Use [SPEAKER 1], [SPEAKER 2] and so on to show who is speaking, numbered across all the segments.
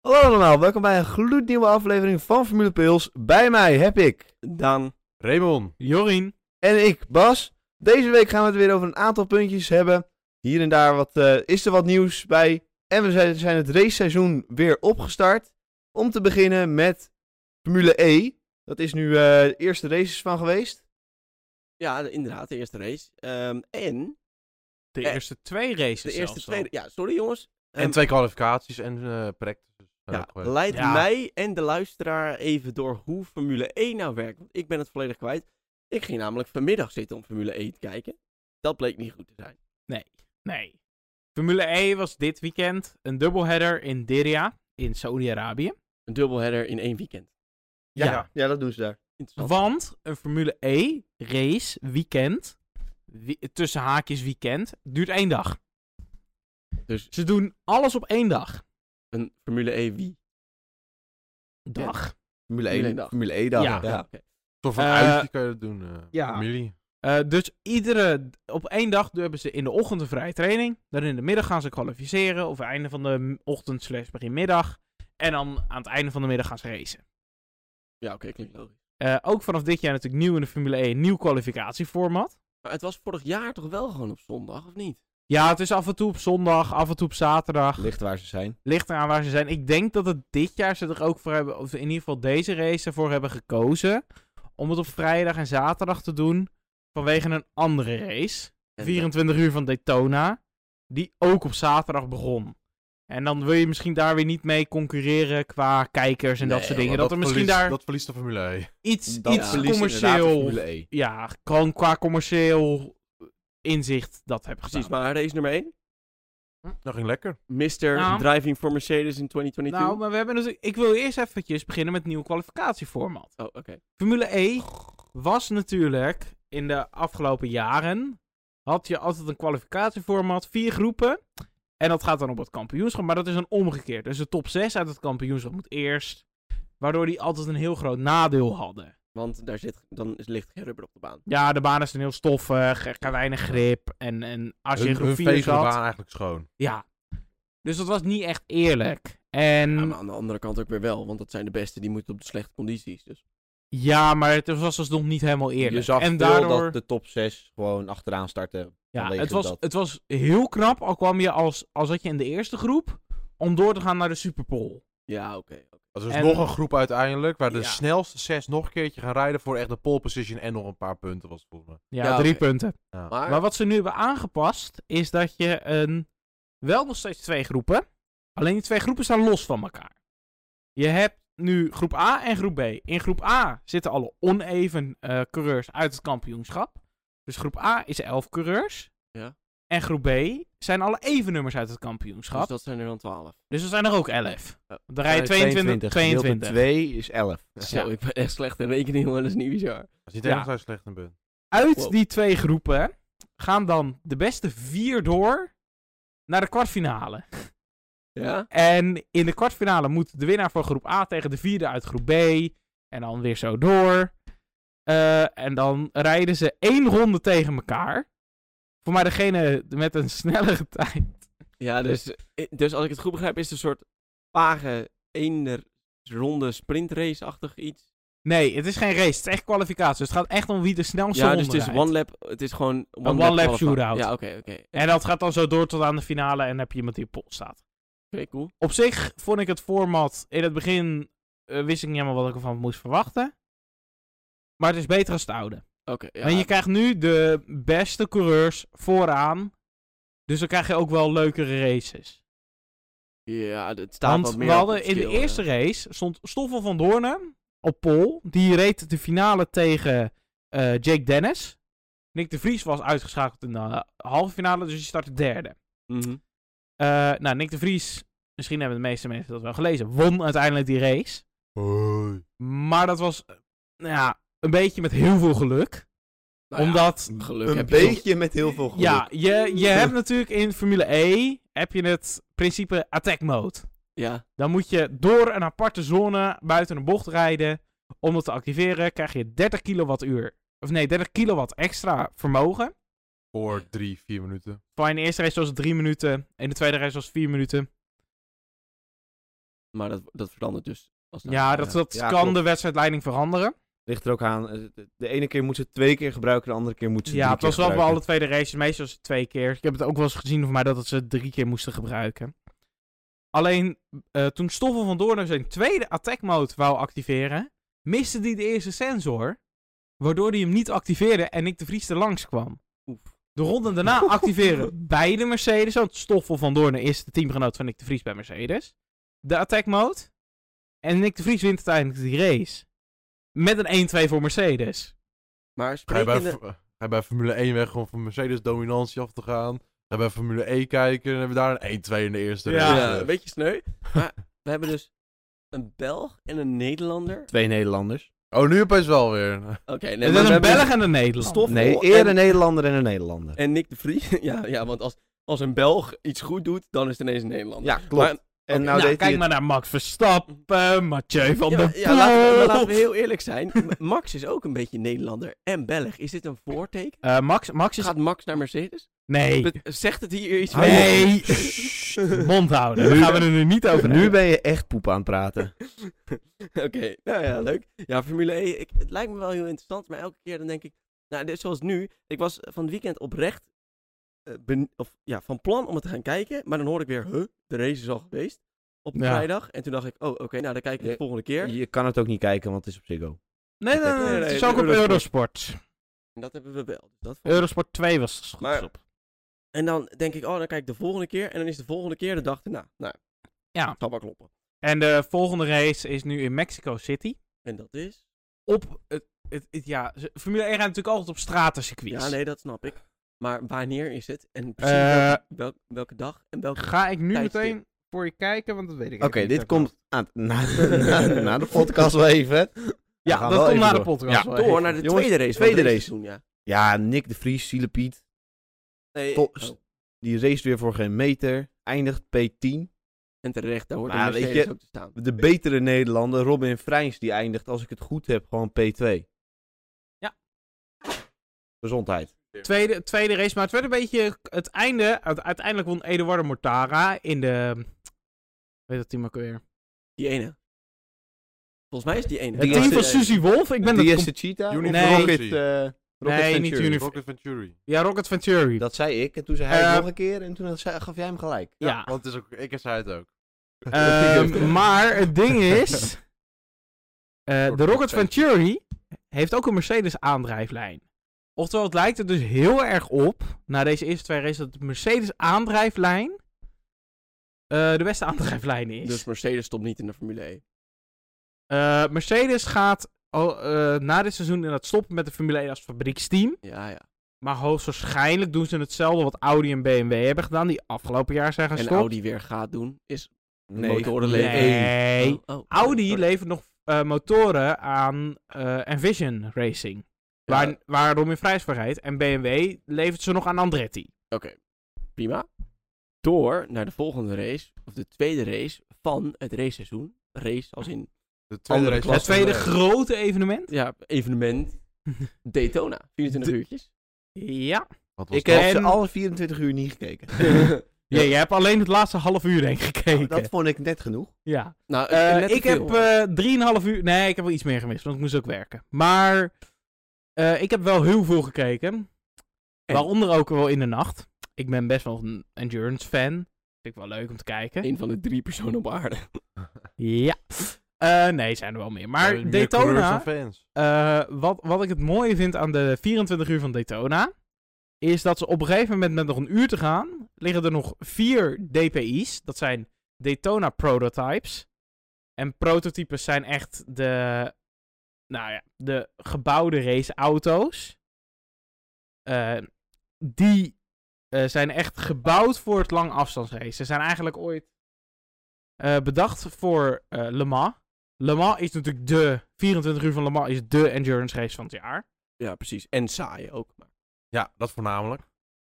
[SPEAKER 1] Hallo allemaal, welkom bij een gloednieuwe aflevering van Formule Pils. Bij mij heb ik
[SPEAKER 2] Dan.
[SPEAKER 3] Raymond.
[SPEAKER 2] Jorien.
[SPEAKER 1] en ik, Bas. Deze week gaan we het weer over een aantal puntjes hebben. Hier en daar wat, eh, is er wat nieuws bij. En we zijn, zijn het raceseizoen weer opgestart. Om te beginnen met Formule E. Dat is nu eh, de eerste races van geweest.
[SPEAKER 2] Ja, de- inderdaad, de eerste race. Ehm, en
[SPEAKER 3] De
[SPEAKER 2] Eh,
[SPEAKER 3] eerste twee races
[SPEAKER 2] de eerste
[SPEAKER 3] zelfs al.
[SPEAKER 2] twee... Ja, sorry jongens.
[SPEAKER 3] En
[SPEAKER 2] Ehm,
[SPEAKER 3] twee kwalificaties en eh practices.
[SPEAKER 2] Ja,
[SPEAKER 3] Ook, eh.
[SPEAKER 2] leid
[SPEAKER 3] Ja.
[SPEAKER 2] mij en de luisteraar even door hoe Formule 1 nou werkt. Want ik ben het volledig kwijt. Ik ging namelijk vanmiddag zitten om Formule 1 te kijken. Dat bleek niet goed te zijn.
[SPEAKER 4] Nee. Formule E was dit weekend een dubbelheader in Diriyah in Saoedi-Arabië.
[SPEAKER 2] Een dubbelheader in één weekend.
[SPEAKER 4] Ja.
[SPEAKER 1] Ja, dat doen ze daar.
[SPEAKER 2] Interessant.
[SPEAKER 4] Want een Formule E race weekend, wi- tussen haakjes weekend, duurt één dag.
[SPEAKER 2] Dus
[SPEAKER 4] Ze doen alles op één dag.
[SPEAKER 2] een Formule 1 wie?
[SPEAKER 4] Dag.
[SPEAKER 1] Formule
[SPEAKER 2] Formule
[SPEAKER 1] 1
[SPEAKER 2] E-dag.
[SPEAKER 1] Formule E dag.
[SPEAKER 4] Ja.
[SPEAKER 1] ja.
[SPEAKER 2] oké.
[SPEAKER 3] Een soort van
[SPEAKER 4] Eh,
[SPEAKER 3] uitje kan je dat doen. eh,
[SPEAKER 4] ja.
[SPEAKER 3] Familie.
[SPEAKER 4] Eh, dus iedere, op één dag hebben ze in de ochtend een vrije training. Dan in de middag gaan ze kwalificeren. Of einde van de m- ochtend slash begin middag. En dan aan het einde van de middag gaan ze racen.
[SPEAKER 2] Ja, oké, klinkt logisch.
[SPEAKER 4] Eh, ook vanaf dit jaar natuurlijk nieuw in de Formule E, een nieuw kwalificatieformat.
[SPEAKER 2] Maar het was vorig jaar toch wel gewoon op zondag, of niet?
[SPEAKER 4] Ja, het is af en toe op zondag, af en toe op zaterdag.
[SPEAKER 1] Ligt waar ze zijn.
[SPEAKER 4] Ligt eraan waar ze zijn. Ik denk dat het dit jaar ze er ook voor hebben, of in ieder geval deze race ervoor hebben gekozen. Om het op vrijdag en zaterdag te doen. Vanwege een andere race.
[SPEAKER 2] En- eh,
[SPEAKER 4] 24 uur van Daytona. Die ook op zaterdag begon. En dan wil je misschien daar weer niet mee concurreren qua kijkers en dat
[SPEAKER 2] Nee,
[SPEAKER 4] soort dingen.
[SPEAKER 3] Maar
[SPEAKER 4] Dat er misschien
[SPEAKER 3] verliest-
[SPEAKER 4] daar
[SPEAKER 3] Nou, Dat verliest de Formule E.
[SPEAKER 4] iets,
[SPEAKER 1] Dat
[SPEAKER 4] iets
[SPEAKER 1] verliest inderdaad de
[SPEAKER 4] commercieel.
[SPEAKER 1] Formule E.
[SPEAKER 4] Ja, gewoon qua commercieel inzicht dat heb
[SPEAKER 2] Precies,
[SPEAKER 4] gezien.
[SPEAKER 2] maar race nummer 1.
[SPEAKER 3] Dat ging lekker.
[SPEAKER 2] Mr.
[SPEAKER 4] Nou.
[SPEAKER 2] Driving for Mercedes in 2022.
[SPEAKER 4] Nou, maar we hebben natuurlijk. Ik wil eerst eventjes beginnen met het nieuwe kwalificatieformat.
[SPEAKER 2] Oh, oké.
[SPEAKER 4] Formule E was natuurlijk in de afgelopen jaren. Had je altijd een kwalificatieformat, vier groepen. En dat gaat dan op het kampioenschap, maar dat is dan omgekeerd. Dus de top 6 uit het kampioenschap moet eerst. Waardoor die altijd een heel groot nadeel hadden.
[SPEAKER 2] Want daar zit, dan is, ligt geen rubber op de baan.
[SPEAKER 4] Ja, de baan is dan heel stoffig, er kan weinig grip. En, en als je in
[SPEAKER 3] Hun,
[SPEAKER 4] groep
[SPEAKER 3] hun
[SPEAKER 4] 4
[SPEAKER 3] vegen de
[SPEAKER 4] zat...
[SPEAKER 3] baan eigenlijk schoon.
[SPEAKER 4] Ja. Dus dat was niet echt eerlijk. En...
[SPEAKER 2] Ja, maar aan de andere kant ook weer wel, want dat zijn de beste die moeten op de slechte condities. Dus.
[SPEAKER 4] Ja, maar het was dus nog niet helemaal eerlijk.
[SPEAKER 1] Je zag
[SPEAKER 4] en
[SPEAKER 1] veel
[SPEAKER 4] daardoor,
[SPEAKER 1] dat de top 6 gewoon achteraan starten.
[SPEAKER 4] ja,
[SPEAKER 1] vanwege
[SPEAKER 4] het, was,
[SPEAKER 1] dat.
[SPEAKER 4] het was heel knap, al kwam je als, als zat je in de eerste groep, om door te gaan naar de Superpole.
[SPEAKER 2] Ja, oké. oké.
[SPEAKER 3] Dat is
[SPEAKER 4] En-
[SPEAKER 3] dus nog een groep uiteindelijk, waar de
[SPEAKER 4] Ja.
[SPEAKER 3] snelste zes nog een keertje gaan rijden voor echt de pole position en nog een paar punten was het volgens mij.
[SPEAKER 4] Ja,
[SPEAKER 2] Ja,
[SPEAKER 4] drie
[SPEAKER 2] oké.
[SPEAKER 4] punten.
[SPEAKER 3] Ja.
[SPEAKER 2] Maar,
[SPEAKER 4] Maar wat ze nu hebben aangepast, is dat je een, wel nog steeds twee groepen, alleen die twee groepen staan los van elkaar. Je hebt nu groep A en groep B. In groep A zitten alle oneven eh, coureurs uit het kampioenschap. Dus groep A is 11 coureurs.
[SPEAKER 2] Ja.
[SPEAKER 4] En groep B zijn alle even nummers uit het kampioenschap.
[SPEAKER 2] dus dat zijn er dan 12.
[SPEAKER 4] Dus er zijn er ook 11.
[SPEAKER 2] Oh.
[SPEAKER 4] Dan rij je
[SPEAKER 1] Eh,
[SPEAKER 4] 22, 22.
[SPEAKER 1] 2 is 11.
[SPEAKER 2] Zo, ik ben echt slecht in rekening, maar dat is niet bizar.
[SPEAKER 3] Dat is niet
[SPEAKER 4] Ja.
[SPEAKER 3] helemaal zo slecht in punt.
[SPEAKER 4] Uit
[SPEAKER 2] Wow.
[SPEAKER 4] die twee groepen gaan dan de beste vier door naar de kwartfinale.
[SPEAKER 2] Ja?
[SPEAKER 4] En in de kwartfinale moet de winnaar van groep A tegen de vierde uit groep B. En dan weer zo door. Eh, en dan rijden ze één ronde tegen elkaar. Voor mij degene met een snellere tijd.
[SPEAKER 2] Ja, dus, eh, dus als ik het goed begrijp, is het een soort vage, eender ronde sprintrace-achtig iets.
[SPEAKER 4] Nee, het is geen race. Het is echt kwalificatie. Dus het gaat echt om wie de snelste
[SPEAKER 2] Ja,
[SPEAKER 4] ronde
[SPEAKER 2] dus het is
[SPEAKER 4] rijdt.
[SPEAKER 2] one lap, het is gewoon one lap
[SPEAKER 4] one lap
[SPEAKER 2] qualifier.
[SPEAKER 4] shootout.
[SPEAKER 2] Ja, oké, oké.
[SPEAKER 4] En dat gaat dan zo door tot aan de finale. En dan heb je iemand die op pol staat.
[SPEAKER 2] Oké, cool.
[SPEAKER 4] Op zich vond ik het format in het begin eh, wist ik niet helemaal wat ik ervan moest verwachten. Maar het is beter als het oude.
[SPEAKER 2] Oké, ja.
[SPEAKER 4] En je krijgt nu de beste coureurs vooraan. Dus dan krijg je ook wel leukere races.
[SPEAKER 2] ja, het staat
[SPEAKER 4] Want
[SPEAKER 2] wat meer
[SPEAKER 4] we
[SPEAKER 2] op
[SPEAKER 4] hadden
[SPEAKER 2] het
[SPEAKER 4] in de
[SPEAKER 2] skill, hè.
[SPEAKER 4] eerste race stond Stoffel van Doornen op pol. Die reed de finale tegen eh, Jake Dennis. Nick de Vries was uitgeschakeld in de eh, halve finale, dus die startte derde.
[SPEAKER 2] Mhm.
[SPEAKER 4] Eh, nou, Nick de Vries, misschien hebben de meeste mensen dat wel gelezen, won uiteindelijk die race.
[SPEAKER 3] Hoi.
[SPEAKER 4] Maar dat was eh, nou ja, een beetje met heel veel geluk.
[SPEAKER 2] Nou ja,
[SPEAKER 4] omdat,
[SPEAKER 2] geluk
[SPEAKER 1] een
[SPEAKER 2] heb je toch.
[SPEAKER 1] beetje met heel veel geluk.
[SPEAKER 4] ja, je, je hebt natuurlijk in Formule E heb je het principe attack mode.
[SPEAKER 2] Ja,
[SPEAKER 4] Dan moet je door een aparte zone buiten een bocht rijden. Om dat te activeren krijg je 30 kilowattuur. Of nee, 30 kilowatt extra vermogen.
[SPEAKER 3] Voor drie, vier minuten.
[SPEAKER 4] Van in de eerste race was het 3 minuten. In de tweede race was het 4 minuten.
[SPEAKER 2] Maar dat, dat verandert dus. Als het
[SPEAKER 4] Ja,
[SPEAKER 2] aan-
[SPEAKER 4] dat, dat
[SPEAKER 1] Ja,
[SPEAKER 4] kan
[SPEAKER 1] klopt.
[SPEAKER 4] de wedstrijdleiding veranderen.
[SPEAKER 1] Ligt er ook aan. eh, de- De ene keer moet ze het twee keer gebruiken, de andere keer moet ze
[SPEAKER 4] Ja,
[SPEAKER 1] het
[SPEAKER 4] het
[SPEAKER 1] drie
[SPEAKER 4] was
[SPEAKER 1] keer
[SPEAKER 4] wel bij alle
[SPEAKER 1] gebruiken.
[SPEAKER 4] tweede races meestal is het twee keer. Ik heb het ook wel eens gezien van mij dat het ze drie keer moesten gebruiken. Alleen eh, toen Stoffel van Doorn zijn tweede attack mode wou activeren, miste hij de eerste sensor. Waardoor hij hem niet activeerde en Nick de Vries er langs kwam.
[SPEAKER 2] Oef.
[SPEAKER 4] De ronde daarna activeren beide Mercedes. Want Stoffel van Doorn is de teamgenoot van Nick de Vries bij Mercedes. De attack mode. En Nick de Vries wint uiteindelijk die race. Met een 1-2 voor Mercedes.
[SPEAKER 2] Maar
[SPEAKER 3] Ga je, bij,
[SPEAKER 2] sprekende...
[SPEAKER 3] F- ga je bij Formule 1 weg om van Mercedes-dominantie af te gaan? Ga je bij Formule E kijken en hebben we daar een 1-2 in de eerste
[SPEAKER 4] Ja.
[SPEAKER 2] Ja,
[SPEAKER 3] race.
[SPEAKER 2] een beetje sneu. Maar we hebben dus een Belg en een Nederlander.
[SPEAKER 1] Twee Nederlanders.
[SPEAKER 3] Oh, nu opeens wel weer.
[SPEAKER 2] Oké, nee, maar
[SPEAKER 4] En dan
[SPEAKER 2] we
[SPEAKER 4] een
[SPEAKER 2] hebben-
[SPEAKER 4] Belg en een Nederlander.
[SPEAKER 2] Stoffel
[SPEAKER 1] Nee,
[SPEAKER 2] en-
[SPEAKER 1] eerder een Nederlander en een Nederlander.
[SPEAKER 2] En Nick de Vries. ja, ja, want als, als een Belg iets goed doet, dan is het ineens een Nederlander.
[SPEAKER 1] Ja, klopt.
[SPEAKER 2] Maar-
[SPEAKER 1] en nou,
[SPEAKER 4] nou,
[SPEAKER 1] deed
[SPEAKER 4] kijk
[SPEAKER 1] hij
[SPEAKER 4] maar naar Max Verstappen, Mathieu van
[SPEAKER 2] Ja,
[SPEAKER 4] der
[SPEAKER 2] maar-
[SPEAKER 4] Poel.
[SPEAKER 2] ja, laten, we, maar laten we heel eerlijk zijn. M- Max is ook een beetje Nederlander en Belg. Is dit een voorteken?
[SPEAKER 4] Eh, Max, Max is...
[SPEAKER 2] Gaat Max naar Mercedes?
[SPEAKER 4] Nee,
[SPEAKER 2] Bet- Zegt het hier iets
[SPEAKER 4] Hou Nee.
[SPEAKER 2] mee?
[SPEAKER 4] op. mond houden. Daar
[SPEAKER 1] Nu-
[SPEAKER 4] gaan we er nu niet over
[SPEAKER 1] het.
[SPEAKER 4] hebben.
[SPEAKER 1] Nu ben je echt poep aan het praten.
[SPEAKER 2] Oké, nou ja, leuk. Ja, Formule E, ik, het lijkt me wel heel interessant, maar elke keer dan denk ik, nou, dit, zoals nu, ik was van het weekend oprecht eh, ben- of, ja, van plan om het te gaan kijken, maar dan hoorde ik weer, huh, de race is al geweest op
[SPEAKER 4] Ja.
[SPEAKER 2] vrijdag. En toen dacht ik, oh, oké, nou, dan kijk ik
[SPEAKER 1] Ja.
[SPEAKER 2] de volgende keer.
[SPEAKER 1] Je kan het ook niet kijken, want het is op Ziggo.
[SPEAKER 4] Nee, nee, nee,
[SPEAKER 2] Nee,
[SPEAKER 4] het
[SPEAKER 2] nee,
[SPEAKER 4] is ook op
[SPEAKER 2] Eurosport.
[SPEAKER 4] Eurosport.
[SPEAKER 2] En dat hebben we wel. Dus Dat vond ik-
[SPEAKER 4] Eurosport 2 was het goed
[SPEAKER 2] Maar-
[SPEAKER 4] op.
[SPEAKER 2] En dan denk ik, oh, dan kijk ik de volgende keer. En dan is de volgende keer de dag erna. Nou,
[SPEAKER 4] Ja.
[SPEAKER 2] zal wel kloppen.
[SPEAKER 4] En de volgende race is nu in Mexico City.
[SPEAKER 2] En dat is...
[SPEAKER 4] Op het, het, het- ja, ze- Formule 1 rijdt natuurlijk altijd op stratencircuits.
[SPEAKER 2] Ja, nee, dat snap ik. Maar wanneer is het? En
[SPEAKER 4] Eh.
[SPEAKER 2] precies welke, welk- welke dag? En welke...
[SPEAKER 4] Ga ik nu
[SPEAKER 2] Tijdstip.
[SPEAKER 4] meteen voor je kijken, want dat weet ik
[SPEAKER 1] Oké,
[SPEAKER 4] even niet
[SPEAKER 1] dit
[SPEAKER 4] uit
[SPEAKER 1] komt
[SPEAKER 4] mijn
[SPEAKER 1] aan, na, na, na de podcast wel even.
[SPEAKER 4] hoofd.
[SPEAKER 1] We gaan
[SPEAKER 4] Ja,
[SPEAKER 1] wel
[SPEAKER 4] dat komt
[SPEAKER 1] even
[SPEAKER 4] na de
[SPEAKER 1] door.
[SPEAKER 4] podcast.
[SPEAKER 1] Ja.
[SPEAKER 4] wel
[SPEAKER 2] Door
[SPEAKER 4] even.
[SPEAKER 2] naar de
[SPEAKER 1] Jongens,
[SPEAKER 2] tweede race.
[SPEAKER 1] tweede
[SPEAKER 2] van dit
[SPEAKER 1] race.
[SPEAKER 2] seizoen, ja.
[SPEAKER 1] Ja, Nick de Vries, Ziele Piet.
[SPEAKER 2] Nee,
[SPEAKER 1] Tot-
[SPEAKER 2] oh,
[SPEAKER 1] Die race weer voor geen meter. Eindigt P10.
[SPEAKER 2] en terecht, daar hoort een
[SPEAKER 1] Maar weet
[SPEAKER 2] Mercedes
[SPEAKER 1] je-
[SPEAKER 2] ook te staan.
[SPEAKER 1] De betere Nederlander, Robin Vrijns, die eindigt, als ik het goed heb, gewoon P2.
[SPEAKER 4] Ja.
[SPEAKER 1] Gezondheid.
[SPEAKER 4] Tweede, tweede race, maar het werd een beetje het einde. Uite- Uiteindelijk won Eduardo Mortara in de... Weet dat team ook weer?
[SPEAKER 2] Die ene. Volgens mij is die eh, ene.
[SPEAKER 1] Die
[SPEAKER 4] Het
[SPEAKER 1] is de-
[SPEAKER 4] team van Suzy Wolf. Ik ben
[SPEAKER 1] die
[SPEAKER 4] dat
[SPEAKER 1] is
[SPEAKER 4] com-
[SPEAKER 1] de cheetah?
[SPEAKER 3] Unif-
[SPEAKER 1] Of
[SPEAKER 4] Nee.
[SPEAKER 1] Rocket, eh, Rocket
[SPEAKER 4] Nee, niet
[SPEAKER 1] Venturi?
[SPEAKER 4] Unif-
[SPEAKER 3] Rocket Venturi.
[SPEAKER 4] Ja, Rocket Venturi.
[SPEAKER 1] Dat zei ik, en toen zei hij het
[SPEAKER 4] Eh,
[SPEAKER 1] nog een keer, en toen zei- gaf jij hem gelijk.
[SPEAKER 4] ja.
[SPEAKER 3] Want het is ook, ik zei het ook.
[SPEAKER 4] Ehm, maar het ding is... eh, de Rocket Venturi heeft ook een Mercedes aandrijflijn. Oftewel, het lijkt er dus heel erg op, na deze eerste twee races, dat de Mercedes aandrijflijn eh, de beste aandrijflijn is.
[SPEAKER 2] Dus Mercedes stopt niet in de Formule 1.
[SPEAKER 4] Eh, Mercedes gaat al, eh, na dit seizoen inderdaad stoppen met de Formule 1 als fabrieksteam.
[SPEAKER 2] Ja, ja.
[SPEAKER 4] Maar hoogstwaarschijnlijk doen ze hetzelfde wat Audi en BMW hebben gedaan, die afgelopen jaar zijn gaan
[SPEAKER 2] En
[SPEAKER 4] stoppen.
[SPEAKER 2] Audi weer gaat doen, is...
[SPEAKER 1] Nee.
[SPEAKER 2] Motoren leven.
[SPEAKER 4] Nee.
[SPEAKER 2] Oh, oh, oh,
[SPEAKER 4] Audi
[SPEAKER 2] sorry.
[SPEAKER 4] levert nog eh, motoren aan eh, Envision Racing.
[SPEAKER 2] Ja,
[SPEAKER 4] Waar, waar Romin Vrijs voor rijdt. En BMW levert ze nog aan Andretti.
[SPEAKER 2] Oké, prima. Door naar de volgende race, of de tweede race van het raceseizoen. Race als in,
[SPEAKER 3] De tweede
[SPEAKER 2] Andere
[SPEAKER 3] race.
[SPEAKER 2] klas.
[SPEAKER 4] Het
[SPEAKER 2] Klasse
[SPEAKER 4] tweede
[SPEAKER 3] van de-
[SPEAKER 4] grote evenement.
[SPEAKER 2] ja, evenement Daytona. 24 uurtjes.
[SPEAKER 4] Ja.
[SPEAKER 3] Wat was
[SPEAKER 1] Ik
[SPEAKER 3] dat?
[SPEAKER 1] heb ze
[SPEAKER 4] En-
[SPEAKER 1] alle 24 uur niet gekeken.
[SPEAKER 4] ja. Je hebt alleen het laatste half uur denk ik gekeken.
[SPEAKER 1] Nou, dat vond ik net genoeg.
[SPEAKER 4] Ja.
[SPEAKER 2] nou,
[SPEAKER 4] Eh,
[SPEAKER 2] net te
[SPEAKER 4] ik
[SPEAKER 2] veel.
[SPEAKER 4] heb eh, drieënhalf uur. Nee, ik heb wel iets meer gemist, want ik moest ook werken. Maar eh, ik heb wel heel veel gekeken.
[SPEAKER 2] En?
[SPEAKER 4] Waaronder ook wel in de nacht. Ik ben best wel een endurance fan. Vind ik wel leuk om te kijken.
[SPEAKER 2] Een van de drie personen op aarde.
[SPEAKER 4] Ja. Eh, nee, zijn er wel meer. Maar
[SPEAKER 3] Ja, meer coureurs dan
[SPEAKER 4] Daytona,
[SPEAKER 3] fans.
[SPEAKER 4] eh, wat, wat ik het mooie vind aan de 24 uur van Daytona, is dat ze op een gegeven moment met nog een uur te gaan, liggen er nog vier DPI's. Dat zijn Daytona prototypes. En prototypes zijn echt de, nou ja, de gebouwde raceauto's. Eh, die eh, zijn echt gebouwd voor het langafstandsrace. Ze zijn eigenlijk ooit eh, bedacht voor eh, Le Mans. Le Mans is natuurlijk de 24 uur van Le Mans is de endurance race van het jaar.
[SPEAKER 2] Ja, precies. En saai ook. Maar
[SPEAKER 3] Ja, dat voornamelijk.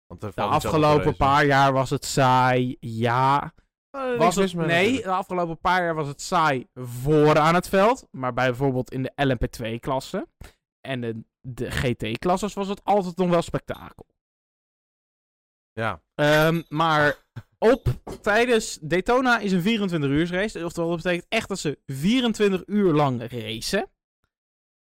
[SPEAKER 3] Want er
[SPEAKER 4] De
[SPEAKER 3] valt niet zoveel
[SPEAKER 4] afgelopen
[SPEAKER 3] racen.
[SPEAKER 4] paar jaar was het saai, ja.
[SPEAKER 3] Ah, niks
[SPEAKER 4] Was
[SPEAKER 3] mis
[SPEAKER 4] het,
[SPEAKER 3] mee
[SPEAKER 4] nee,
[SPEAKER 3] natuurlijk.
[SPEAKER 4] de afgelopen paar jaar was het saai voor aan het veld. Maar bij bijvoorbeeld in de LMP2-klasse en de, de GT-klasses was het altijd nog wel spektakel.
[SPEAKER 3] Ja.
[SPEAKER 4] Ehm, maar op tijdens Daytona is een 24 uur race. Oftewel, dat betekent echt dat ze 24 uur lang racen.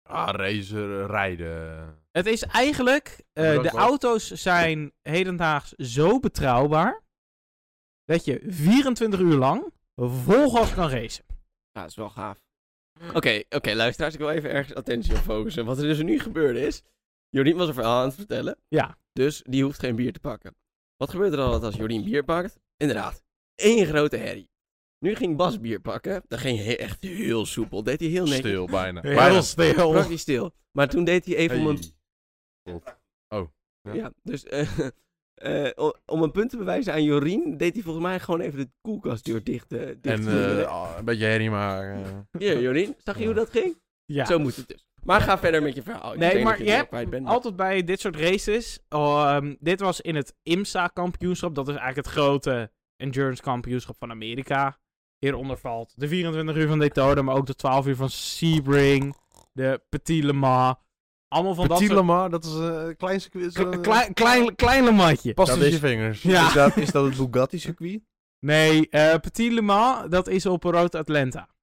[SPEAKER 3] Ah, racer, eh, rijden.
[SPEAKER 4] Het is eigenlijk, eh,
[SPEAKER 3] Maar dat
[SPEAKER 4] de
[SPEAKER 3] wel-
[SPEAKER 4] auto's zijn hedendaags zo betrouwbaar dat je 24 uur lang vol gas kan racen.
[SPEAKER 2] Ja, dat is wel gaaf. Oké, oké, luisteraars, ik wil even ergens attentie op focussen. Wat er dus nu gebeurde is, Jorien was een verhaal aan het vertellen.
[SPEAKER 4] Ja.
[SPEAKER 2] Dus die hoeft geen bier te pakken. Wat gebeurt er altijd als Jorien bier pakt? Inderdaad, één grote herrie. Nu ging Bas bier pakken. Dat ging hij echt heel soepel. Deed hij heel netjes.
[SPEAKER 3] Stil bijna.
[SPEAKER 4] Ja.
[SPEAKER 3] Bijna stil.
[SPEAKER 2] Praktisch stil. Maar toen deed hij even om een...
[SPEAKER 3] Hey.
[SPEAKER 2] Ja,
[SPEAKER 3] Ja.
[SPEAKER 2] dus eh, eh, o- om een punt te bewijzen aan Jorien, deed hij volgens mij gewoon even de koelkastdeur dicht. eh, dicht
[SPEAKER 3] En
[SPEAKER 2] doen.
[SPEAKER 3] eh, ah, een beetje herrie maken. eh.
[SPEAKER 2] Hier, Jorien, zag je hoe dat ging?
[SPEAKER 4] Ja.
[SPEAKER 2] Zo moet het dus. Maar ga verder met je verhaal. Ik
[SPEAKER 4] Nee,
[SPEAKER 2] denk
[SPEAKER 4] maar
[SPEAKER 2] dat
[SPEAKER 4] je
[SPEAKER 2] het
[SPEAKER 4] hebt
[SPEAKER 2] kwijt bent, maar-
[SPEAKER 4] Altijd bij dit soort races. ehm, dit was in het IMSA-kampioenschap. Dat is eigenlijk het grote endurance-kampioenschap van Amerika. Hieronder valt de 24 uur van Daytona, maar ook de 12 uur van Sebring, de Petit Le Mans. Allemaal van
[SPEAKER 3] Petit
[SPEAKER 4] dat
[SPEAKER 3] Lamar, dat is eh, een klein circuit.
[SPEAKER 4] soort... Kle- klein, klein, klein Le Mansje.
[SPEAKER 3] Pas dus
[SPEAKER 1] Dat
[SPEAKER 3] tussen je
[SPEAKER 1] is-
[SPEAKER 3] vingers.
[SPEAKER 4] Ja.
[SPEAKER 1] Is, dat, is dat het Bugatti-circuit?
[SPEAKER 4] Nee, eh, Petit Le Mans, dat is op Road Atlanta.
[SPEAKER 1] Maar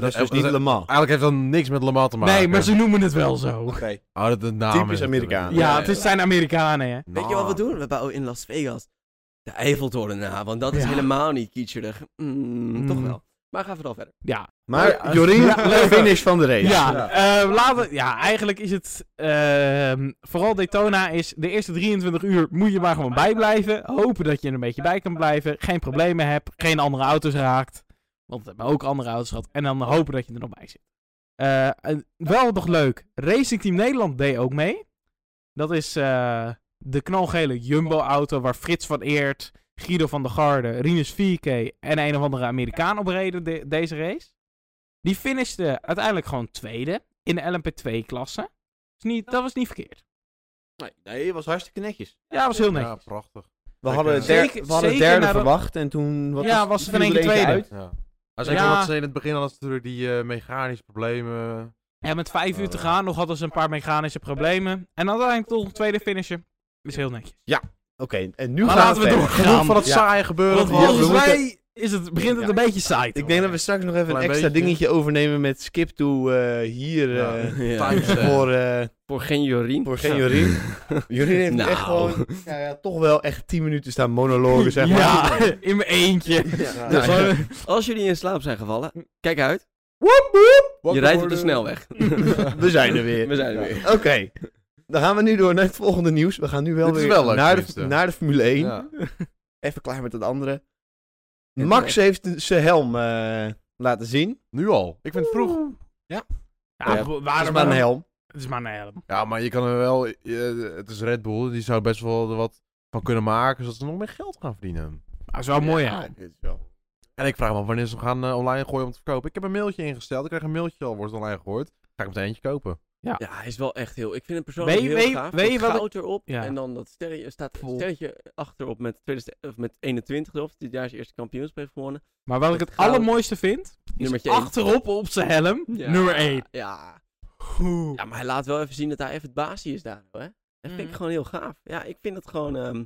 [SPEAKER 3] Maar
[SPEAKER 1] dat is
[SPEAKER 3] dat-
[SPEAKER 1] dus niet
[SPEAKER 3] dat-
[SPEAKER 1] Le Mans.
[SPEAKER 3] Eigenlijk heeft dat niks met Lamar te maken.
[SPEAKER 4] Nee, maar ze noemen het wel zo.
[SPEAKER 3] Oh, dat de naam
[SPEAKER 1] Typisch
[SPEAKER 3] is natuurlijk.
[SPEAKER 1] Amerikaan.
[SPEAKER 4] Ja, het is- zijn Amerikanen, hè.
[SPEAKER 2] Weet
[SPEAKER 3] Nou,
[SPEAKER 2] je wat we doen? We bouwen in Las Vegas de Eiffeltoren na, want dat is
[SPEAKER 4] Ja.
[SPEAKER 2] helemaal niet kitscherig. Mm,
[SPEAKER 4] Mm.
[SPEAKER 2] Toch wel. Maar ga vooral verder.
[SPEAKER 4] Ja,
[SPEAKER 1] Maar Jorien,
[SPEAKER 4] Ja, leuk.
[SPEAKER 1] finish van de race.
[SPEAKER 4] ja, eh, laten, ja eigenlijk is het... ehm, vooral Daytona is de eerste 23 uur moet je maar gewoon bijblijven. Hopen dat je er een beetje bij kan blijven. Geen problemen hebt. Geen andere auto's raakt. Want we hebben ook andere auto's gehad. En dan hopen dat je er nog bij zit. Eh, en wel nog leuk. Racing Team Nederland deed ook mee. Dat is eh, de knalgele Jumbo-auto waar Frits van Eert, Guido van der Garde, Rinus Vierke en een of andere Amerikaan op reden de- deze race. Die finishte uiteindelijk gewoon tweede in de LMP2-klasse. Dus niet, dat was niet verkeerd.
[SPEAKER 1] Nee, nee, was hartstikke netjes.
[SPEAKER 4] Ja, dat was heel
[SPEAKER 3] Ja,
[SPEAKER 4] netjes.
[SPEAKER 3] prachtig.
[SPEAKER 1] We hadden, het
[SPEAKER 4] Zeker-
[SPEAKER 1] der- we hadden het
[SPEAKER 4] zeker
[SPEAKER 1] derde
[SPEAKER 4] nadat-
[SPEAKER 1] verwacht en toen... Wat
[SPEAKER 4] Ja, was het in één keer tweede.
[SPEAKER 3] Ja. Maar zeker
[SPEAKER 4] Ja.
[SPEAKER 3] omdat ze in het begin hadden ze natuurlijk die eh, mechanische problemen.
[SPEAKER 4] Ja, met vijf uur te
[SPEAKER 3] Oh.
[SPEAKER 4] gaan nog hadden ze een paar mechanische problemen. En uiteindelijk toch een tweede finisher. Is heel netjes.
[SPEAKER 1] Oké, en nu
[SPEAKER 4] Maar
[SPEAKER 1] gaan
[SPEAKER 4] laten we
[SPEAKER 1] verder.
[SPEAKER 4] door.
[SPEAKER 3] Genoeg van het
[SPEAKER 1] Ja.
[SPEAKER 3] saaie gebeuren.
[SPEAKER 4] Want
[SPEAKER 1] Ja,
[SPEAKER 3] gewoon.
[SPEAKER 1] we
[SPEAKER 4] volgens
[SPEAKER 1] moeten-
[SPEAKER 4] mij is het, begint het
[SPEAKER 1] Ja.
[SPEAKER 4] een beetje saai te
[SPEAKER 1] Ik denk dat we
[SPEAKER 4] worden.
[SPEAKER 1] straks nog even een
[SPEAKER 3] Klein
[SPEAKER 1] extra
[SPEAKER 3] beetje.
[SPEAKER 1] dingetje overnemen met skip to eh, hier eh,
[SPEAKER 3] Times, eh,
[SPEAKER 1] voor, eh,
[SPEAKER 2] Voor geen Jorien.
[SPEAKER 1] voor geen Jorien. Jorien heeft
[SPEAKER 2] Nou.
[SPEAKER 1] echt gewoon, ja, ja, toch wel echt 10 minuten staan monologen, zeg maar.
[SPEAKER 4] Ja, in mijn eentje.
[SPEAKER 1] Ja.
[SPEAKER 2] Nou,
[SPEAKER 4] Gewoon-
[SPEAKER 2] Als jullie in slaap zijn gevallen, kijk uit.
[SPEAKER 1] Woep, woep.
[SPEAKER 3] Wakker
[SPEAKER 2] je rijdt op de
[SPEAKER 3] worden.
[SPEAKER 2] snelweg.
[SPEAKER 1] We zijn er weer.
[SPEAKER 2] We zijn er weer.
[SPEAKER 1] Oké, dan gaan we nu door naar het volgende nieuws. We gaan nu wel
[SPEAKER 3] Dit is
[SPEAKER 1] weer
[SPEAKER 3] wel leuk,
[SPEAKER 1] naar, de,
[SPEAKER 3] tenminste.
[SPEAKER 1] naar de Formule 1.
[SPEAKER 3] Ja.
[SPEAKER 1] Even klaar met het andere.
[SPEAKER 2] Ja,
[SPEAKER 1] Max heeft zijn helm eh, laten zien.
[SPEAKER 3] Nu al. Ik vind het vroeg.
[SPEAKER 4] Ja,
[SPEAKER 1] Ja,
[SPEAKER 4] waarom-
[SPEAKER 1] Dat is maar een helm.
[SPEAKER 4] Het is maar een helm.
[SPEAKER 3] Ja, maar je kan er wel. eh, het is Red Bull. Die zou best wel er wat van kunnen maken. Zodat ze nog meer geld gaan verdienen.
[SPEAKER 4] Maar het is wel een mooie
[SPEAKER 1] Ja,
[SPEAKER 4] helm.
[SPEAKER 1] dit is wel.
[SPEAKER 3] En ik vraag me af wanneer ze hem gaan eh, online gooien om te verkopen. Ik heb een mailtje ingesteld. Ik krijg een mailtje al. Wordt het online gegooid. Ga ik meteen eentje kopen.
[SPEAKER 2] Ja, hij is wel echt heel... Ik vind hem persoonlijk
[SPEAKER 4] Weet-
[SPEAKER 2] heel
[SPEAKER 4] weet-
[SPEAKER 2] gaaf.
[SPEAKER 4] weet je
[SPEAKER 2] dat
[SPEAKER 4] wat ik-
[SPEAKER 2] goud erop
[SPEAKER 4] Ja.
[SPEAKER 2] en dan dat sterretje, staat een
[SPEAKER 4] Vol.
[SPEAKER 2] sterretje achterop met, 2000 of met 21 erop. Dit jaar is eerste kampioenschap gewonnen.
[SPEAKER 4] Maar wat ik het
[SPEAKER 2] Het goud.
[SPEAKER 4] allermooiste vind, is
[SPEAKER 2] Nummertje één.
[SPEAKER 4] achterop op zijn helm, nummer 1.
[SPEAKER 2] Ja. Ja, maar hij laat wel even zien dat hij even het baasje is daar, hè? Dat vind ik
[SPEAKER 4] Mhm.
[SPEAKER 2] gewoon heel gaaf. Ja, ik vind het gewoon... ehm,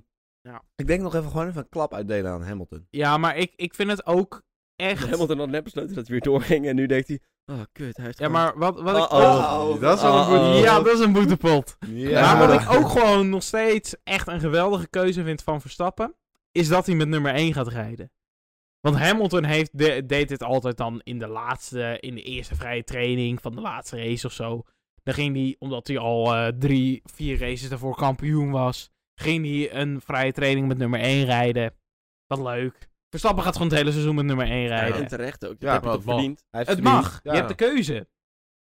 [SPEAKER 1] Ik denk nog even gewoon even een klap uitdelen aan Hamilton.
[SPEAKER 4] Ja, maar ik, ik vind het ook echt...
[SPEAKER 2] Hamilton had net besloten dat hij weer doorging en nu denkt hij... Oh, kut, hij heeft
[SPEAKER 4] Ja,
[SPEAKER 2] gewoon-
[SPEAKER 4] maar wat, wat
[SPEAKER 1] Oh,
[SPEAKER 4] ik... Oh.
[SPEAKER 2] Uh-oh.
[SPEAKER 3] Dat is wel een goed-
[SPEAKER 2] Uh-oh.
[SPEAKER 4] Ja, dat is een boetepot.
[SPEAKER 1] Ja.
[SPEAKER 4] Maar wat ik ook gewoon nog steeds echt een geweldige keuze vind van Verstappen, is dat hij met nummer 1 gaat rijden. Want Hamilton heeft de- deed dit altijd dan in de laatste, in de eerste vrije training van de laatste race of zo. Dan ging hij, omdat hij al eh, drie, vier races daarvoor kampioen was, ging hij een vrije training met nummer 1 rijden. Wat leuk. Verstappen gaat gewoon het hele seizoen met nummer 1 rijden.
[SPEAKER 2] En terecht ook.
[SPEAKER 1] Ja,
[SPEAKER 2] Ja, heb je
[SPEAKER 3] maar
[SPEAKER 2] toch
[SPEAKER 3] het mag.
[SPEAKER 2] verdiend?
[SPEAKER 1] Hij heeft
[SPEAKER 4] het
[SPEAKER 1] verdiend.
[SPEAKER 4] mag.
[SPEAKER 3] ja.
[SPEAKER 4] Je hebt de keuze.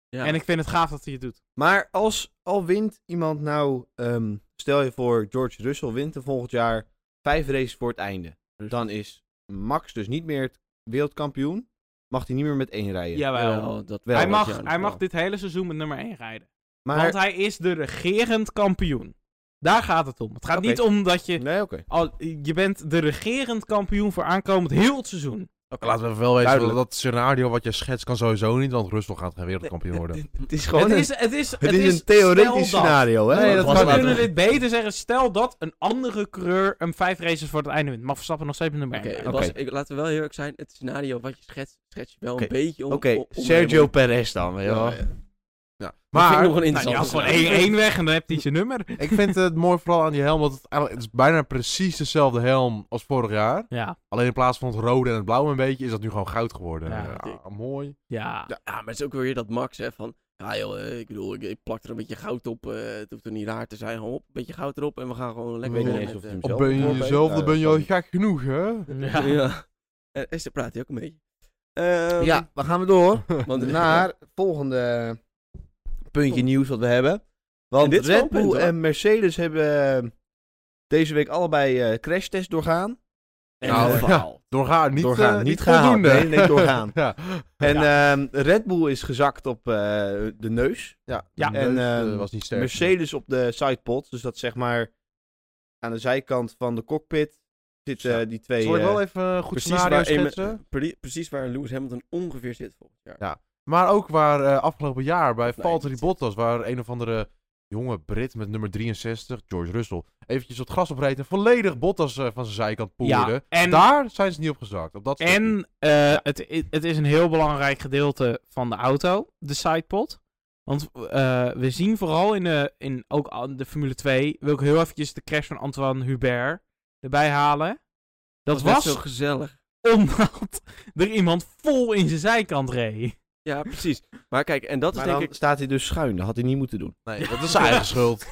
[SPEAKER 2] Ja.
[SPEAKER 4] En ik vind het gaaf dat hij het doet.
[SPEAKER 1] Maar als al wint iemand nou, ehm, stel je voor George Russell wint er volgend jaar vijf races voor het einde. Dan is Max dus niet meer het wereldkampioen. Mag hij niet meer met één rijden.
[SPEAKER 4] Jawel.
[SPEAKER 2] dat
[SPEAKER 1] Hij
[SPEAKER 4] Hij
[SPEAKER 2] dat
[SPEAKER 4] mag,
[SPEAKER 2] jaar nog
[SPEAKER 4] hij
[SPEAKER 2] wel.
[SPEAKER 4] mag dit hele seizoen met nummer 1 rijden.
[SPEAKER 1] maar
[SPEAKER 4] Want hij is de regerend kampioen. Daar gaat het om. Het gaat
[SPEAKER 1] Oké.
[SPEAKER 4] niet om dat je...
[SPEAKER 1] nee, oké.
[SPEAKER 4] Al, je bent de regerend kampioen voor aankomend heel het seizoen.
[SPEAKER 2] Oké.
[SPEAKER 3] Laten we even wel weten,
[SPEAKER 1] Duidelijk.
[SPEAKER 3] dat scenario wat jij schetst kan sowieso niet, want Rustel gaat geen wereldkampioen worden.
[SPEAKER 2] Het- Het is
[SPEAKER 1] Gewoon
[SPEAKER 4] Het
[SPEAKER 1] een-
[SPEAKER 4] is, het is,
[SPEAKER 1] Het
[SPEAKER 4] het
[SPEAKER 1] is een theoretisch
[SPEAKER 4] stel dat.
[SPEAKER 1] scenario, hè?
[SPEAKER 3] Nee,
[SPEAKER 1] Want
[SPEAKER 3] dat
[SPEAKER 1] we
[SPEAKER 4] we
[SPEAKER 1] kunnen
[SPEAKER 3] kan
[SPEAKER 4] kunnen
[SPEAKER 1] dit-
[SPEAKER 3] niet.
[SPEAKER 4] dit beter zeggen. Stel dat een andere coureur een vijf races voor het einde wint. Maar Verstappen nog steeds met Nou, een
[SPEAKER 2] Oké,
[SPEAKER 4] berg.
[SPEAKER 2] het was- ik- laten we wel heel erg zijn. Het scenario wat je schetst, schets je wel
[SPEAKER 1] Oké,
[SPEAKER 2] een beetje om.
[SPEAKER 1] Oké,
[SPEAKER 2] om- om-
[SPEAKER 1] Sergio
[SPEAKER 2] om-
[SPEAKER 1] Perez dan, weet je wel.
[SPEAKER 3] Ja, ja. Ja.
[SPEAKER 2] Dat vind
[SPEAKER 3] Maar
[SPEAKER 2] ik nog een
[SPEAKER 4] Nou, die
[SPEAKER 2] interessante
[SPEAKER 4] had gewoon
[SPEAKER 2] vraag.
[SPEAKER 4] één, één weg en dan heb hij zijn nummer.
[SPEAKER 3] ik vind het mooi vooral aan die helm, want het, eigenlijk- het is bijna precies dezelfde helm als vorig jaar.
[SPEAKER 4] Ja,
[SPEAKER 3] Alleen in plaats van het rode en het blauwe een beetje, is dat nu gewoon goud geworden.
[SPEAKER 4] Ja.
[SPEAKER 3] Ja, mooi.
[SPEAKER 4] ja.
[SPEAKER 2] Ja, maar het is ook weer dat Max, hè, van... Ja joh, eh, ik bedoel, ik, ik plak er een beetje goud op. eh, het hoeft er niet raar te zijn. Gewoon op, een beetje goud erop en we gaan gewoon lekker...
[SPEAKER 1] weet niet
[SPEAKER 2] door
[SPEAKER 1] eens
[SPEAKER 2] met,
[SPEAKER 1] of hij
[SPEAKER 2] eh,
[SPEAKER 1] hem
[SPEAKER 3] Op
[SPEAKER 1] Zelf
[SPEAKER 3] ben je
[SPEAKER 1] voorbeeld?
[SPEAKER 3] jezelf,
[SPEAKER 1] Ja,
[SPEAKER 3] dan ben
[SPEAKER 1] dat
[SPEAKER 3] je
[SPEAKER 1] kan
[SPEAKER 3] al
[SPEAKER 1] niet.
[SPEAKER 3] gek genoeg, hè?
[SPEAKER 4] Ja.
[SPEAKER 2] Ja. En Esther praat hij ook een beetje. Ehm,
[SPEAKER 1] Ja, we gaan we door
[SPEAKER 2] want-
[SPEAKER 1] naar het volgende puntje nieuws wat we hebben. Want
[SPEAKER 2] En dit is wel
[SPEAKER 1] Red
[SPEAKER 2] een punt,
[SPEAKER 1] Bull
[SPEAKER 2] hoor.
[SPEAKER 1] en Mercedes hebben eh, deze week allebei eh crashtest doorgaan.
[SPEAKER 2] En
[SPEAKER 3] Nou,
[SPEAKER 2] een
[SPEAKER 3] ja.
[SPEAKER 2] verhaal.
[SPEAKER 3] Doorgaan, niet,
[SPEAKER 1] Doorgaan,
[SPEAKER 3] eh,
[SPEAKER 1] niet
[SPEAKER 3] niet
[SPEAKER 1] gehaald.
[SPEAKER 3] voldoende.
[SPEAKER 1] Nee, nee, doorgaan.
[SPEAKER 3] ja.
[SPEAKER 1] En ehm, Red Bull is gezakt op eh, de neus.
[SPEAKER 3] Ja,
[SPEAKER 4] Ja.
[SPEAKER 3] en eh,
[SPEAKER 1] En, ehm,
[SPEAKER 3] was niet sterk.
[SPEAKER 1] Mercedes op de sidepod. Dus dat zeg maar aan de zijkant van de cockpit zitten die twee...
[SPEAKER 3] Zal ik
[SPEAKER 1] eh,
[SPEAKER 3] wel even een goed
[SPEAKER 2] Precies
[SPEAKER 3] scenario
[SPEAKER 2] waar, Eme-
[SPEAKER 3] schetsen?
[SPEAKER 2] pre- precies waar Lewis Hamilton ongeveer zit volgend jaar.
[SPEAKER 3] Maar ook waar eh, afgelopen jaar bij
[SPEAKER 2] Nee,
[SPEAKER 3] Valtteri
[SPEAKER 2] niet.
[SPEAKER 3] Bottas, waar een of andere jonge Brit met nummer 63, George Russell, eventjes het gras opreed en volledig Bottas eh, van zijn zijkant poerde.
[SPEAKER 4] Ja, en-
[SPEAKER 3] Daar zijn ze niet op gezakt. Op dat stukje.
[SPEAKER 4] En eh, het, i- het is een heel belangrijk gedeelte van de auto, de sidepod. Want eh, we zien vooral in, de, in ook aan de Formule 2, wil ik heel eventjes de crash van Antoine Hubert erbij halen. Dat
[SPEAKER 2] net
[SPEAKER 4] was,
[SPEAKER 2] zo gezellig.
[SPEAKER 4] omdat er iemand vol in zijn zijkant reed.
[SPEAKER 2] Ja, precies. Maar kijk, en dat is
[SPEAKER 1] maar
[SPEAKER 2] denk
[SPEAKER 1] dan
[SPEAKER 2] ik...
[SPEAKER 1] staat hij dus schuin. Dat had hij niet moeten doen.
[SPEAKER 3] Nee, dat is zijn eigen schuld.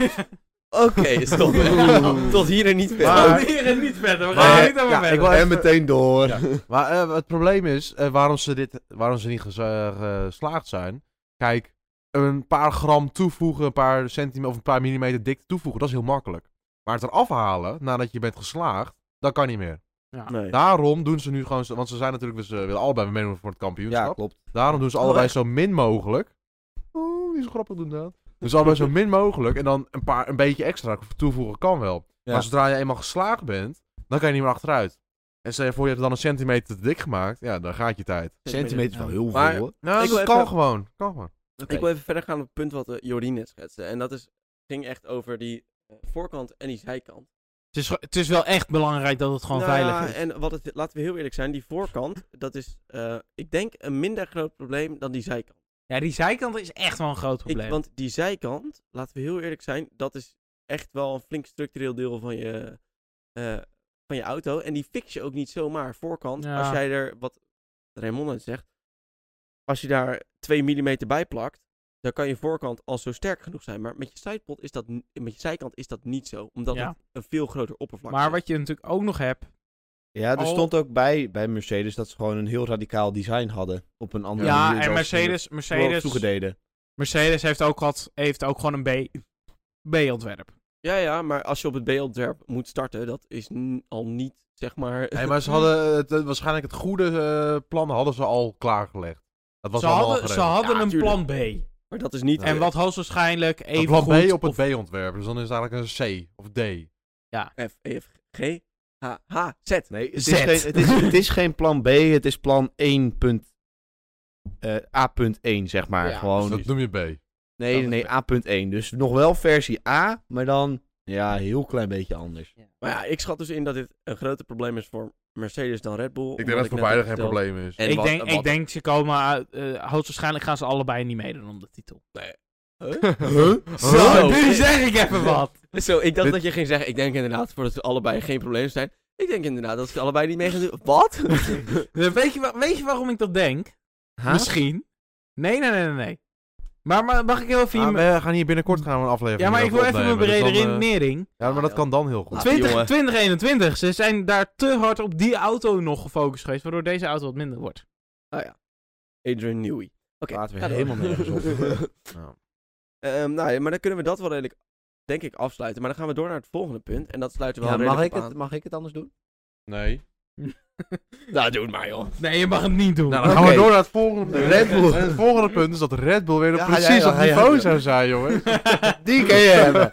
[SPEAKER 2] Oké, stop.
[SPEAKER 1] Oeh.
[SPEAKER 2] Tot hier en niet verder.
[SPEAKER 1] Maar-
[SPEAKER 4] We gaan niet verder, we
[SPEAKER 3] Maar-
[SPEAKER 4] gaan niet
[SPEAKER 3] ja,
[SPEAKER 4] over
[SPEAKER 3] ik
[SPEAKER 4] verder.
[SPEAKER 3] wil
[SPEAKER 1] En
[SPEAKER 3] even-
[SPEAKER 1] meteen door.
[SPEAKER 3] Ja. Maar eh, het probleem is, eh, waarom, ze dit, waarom ze niet ges- eh, geslaagd zijn. Kijk, een paar gram toevoegen, een paar centimeter of een paar millimeter dikte toevoegen, dat is heel makkelijk. Maar het eraf halen, nadat je bent geslaagd, dat kan niet meer.
[SPEAKER 2] Nee.
[SPEAKER 3] Daarom doen ze nu gewoon, zo- want ze zijn natuurlijk, ze willen allebei meedoen voor het kampioenschap.
[SPEAKER 1] Ja, klopt.
[SPEAKER 3] Daarom doen ze
[SPEAKER 2] Oh,
[SPEAKER 3] allebei
[SPEAKER 2] echt?
[SPEAKER 3] zo min mogelijk. Oeh, die is grappig doen dat. Dus allebei zo min mogelijk en dan een, paar, een beetje extra toevoegen kan wel.
[SPEAKER 1] Ja.
[SPEAKER 3] Maar zodra je eenmaal geslaagd bent, dan kan je niet meer achteruit. En stel je voor, je hebt dan een centimeter te dik gemaakt, ja, dan gaat je tijd.
[SPEAKER 1] Centimeter is wel heel
[SPEAKER 2] Maar-
[SPEAKER 1] veel. hoor.
[SPEAKER 3] Nou,
[SPEAKER 2] Ik
[SPEAKER 3] dat
[SPEAKER 2] wil
[SPEAKER 3] kan
[SPEAKER 2] even-
[SPEAKER 3] gewoon. Kan gewoon.
[SPEAKER 1] Oké.
[SPEAKER 2] Ik wil even verder gaan op het punt wat eh, Jorien net schetste. En dat is, ging echt over die eh, voorkant en die zijkant.
[SPEAKER 4] Het is, het is wel echt belangrijk dat het gewoon
[SPEAKER 2] Nou ja,
[SPEAKER 3] eh,
[SPEAKER 4] veilig is.
[SPEAKER 2] En wat het, laten we heel eerlijk zijn, die voorkant, dat is, eh, ik denk, een minder groot probleem dan die zijkant.
[SPEAKER 4] Ja, die zijkant is echt wel een groot
[SPEAKER 2] Ik,
[SPEAKER 4] probleem.
[SPEAKER 2] want die zijkant, laten we heel eerlijk zijn, dat is echt wel een flink structureel deel van je, eh, van je auto. En die fix je ook niet zomaar voorkant.
[SPEAKER 4] Ja.
[SPEAKER 2] Als jij er, wat Raymond net zegt, als je daar 2 mm bij plakt, dan kan je voorkant al zo sterk genoeg zijn. Maar met je, sidepod is dat, n- met je zijkant is dat niet zo, omdat
[SPEAKER 4] Ja.
[SPEAKER 2] het een veel groter oppervlak
[SPEAKER 4] maar
[SPEAKER 2] is.
[SPEAKER 4] wat je natuurlijk ook nog hebt...
[SPEAKER 1] Ja, er
[SPEAKER 4] Al-
[SPEAKER 1] stond ook bij, bij Mercedes dat ze gewoon een heel radicaal design hadden. Op een andere manier.
[SPEAKER 4] Ja,
[SPEAKER 1] dan ze
[SPEAKER 4] en Mercedes,
[SPEAKER 1] toen wel
[SPEAKER 4] Mercedes,
[SPEAKER 1] Toegededen.
[SPEAKER 4] Mercedes heeft ook, gehad, heeft ook gewoon een B- B-ontwerp.
[SPEAKER 2] Ja, ja, maar als je op het B-ontwerp moet starten, dat is n- al niet, zeg maar...
[SPEAKER 3] Nee, maar ze hadden het, het- waarschijnlijk het goede eh, plan hadden ze al klaargelegd. Dat was
[SPEAKER 4] Ze
[SPEAKER 3] allemaal
[SPEAKER 4] hadden, ze
[SPEAKER 3] geregeld.
[SPEAKER 4] hadden
[SPEAKER 2] Ja,
[SPEAKER 4] een
[SPEAKER 2] tuurlijk.
[SPEAKER 4] plan B.
[SPEAKER 2] maar dat is niet...
[SPEAKER 4] En wat hoogstwaarschijnlijk
[SPEAKER 3] Een
[SPEAKER 4] even
[SPEAKER 3] plan
[SPEAKER 4] goed
[SPEAKER 3] B op
[SPEAKER 4] of-
[SPEAKER 3] het B-ontwerp, dus dan is het eigenlijk een C of D.
[SPEAKER 2] F, E, F, G, H, H, Z.
[SPEAKER 1] Nee, het is,
[SPEAKER 4] Zet.
[SPEAKER 1] geen, het, is, het is geen plan B, het is plan 1. punt- eh, A.1, zeg maar.
[SPEAKER 4] Ja, dus
[SPEAKER 1] gewoon.
[SPEAKER 3] dat noem je B.
[SPEAKER 1] nee,
[SPEAKER 2] dat-
[SPEAKER 1] nee, A.1. Dus nog wel versie A, maar dan ja, een heel klein beetje anders.
[SPEAKER 2] Maar ja, ik schat dus in dat dit een groter probleem is voor Mercedes dan Red Bull.
[SPEAKER 3] Ik denk dat het voor beide geen probleem is.
[SPEAKER 4] ik, denk, ik denk ze komen uit, eh, hoogstwaarschijnlijk gaan ze allebei niet meedoen om de titel.
[SPEAKER 3] Ah, Oh.
[SPEAKER 2] Zo.
[SPEAKER 4] nu zeg ik even wat.
[SPEAKER 2] Zo, ik dacht
[SPEAKER 3] Dit-
[SPEAKER 2] dat je ging zeggen, ik denk inderdaad voor dat ze allebei geen probleem zijn. Ik denk inderdaad dat ze allebei niet mee gaan doen. Wat?
[SPEAKER 4] Eh, weet, je, wa- weet je waarom ik dat denk? Misschien. Nee, nee, nee, nee, nee. Maar, maar mag ik heel even...
[SPEAKER 3] Ah,
[SPEAKER 4] mijn-
[SPEAKER 3] we gaan hier binnenkort gaan we een aflevering
[SPEAKER 4] ja, maar ik wil even
[SPEAKER 3] opnemen,
[SPEAKER 4] mijn brede
[SPEAKER 3] dus dan, eh,
[SPEAKER 4] redenering.
[SPEAKER 3] Ja, maar dat kan dan heel goed.
[SPEAKER 2] Ah,
[SPEAKER 4] 20,
[SPEAKER 2] jongen.
[SPEAKER 4] 2021, ze zijn daar te hard op die auto nog gefocust geweest, waardoor deze auto wat minder wordt.
[SPEAKER 2] Adrian Newey. Oké,
[SPEAKER 1] Laten we
[SPEAKER 2] ga door.
[SPEAKER 1] helemaal nergens op.
[SPEAKER 3] Ja.
[SPEAKER 2] Ehm, nou ja, maar dan kunnen we dat wel redelijk, denk ik, afsluiten. Maar dan gaan we door naar het volgende punt. En dat sluiten we
[SPEAKER 1] Ja,
[SPEAKER 2] wel
[SPEAKER 1] mag, ik
[SPEAKER 2] redelijk op
[SPEAKER 1] het, mag ik het anders doen?
[SPEAKER 3] Nee.
[SPEAKER 2] aan. Nou, doe het maar, joh.
[SPEAKER 4] Nee, je mag het niet doen.
[SPEAKER 3] Nou, dan
[SPEAKER 1] Oké.
[SPEAKER 3] gaan we door naar het volgende punt.
[SPEAKER 1] Red Bull.
[SPEAKER 3] En het volgende punt is dat Red Bull weer op
[SPEAKER 1] Ja,
[SPEAKER 3] precies
[SPEAKER 1] ja, ja,
[SPEAKER 3] dat
[SPEAKER 1] ja, ja.
[SPEAKER 3] niveau zou zijn, jongen.
[SPEAKER 1] Die kan je hebben.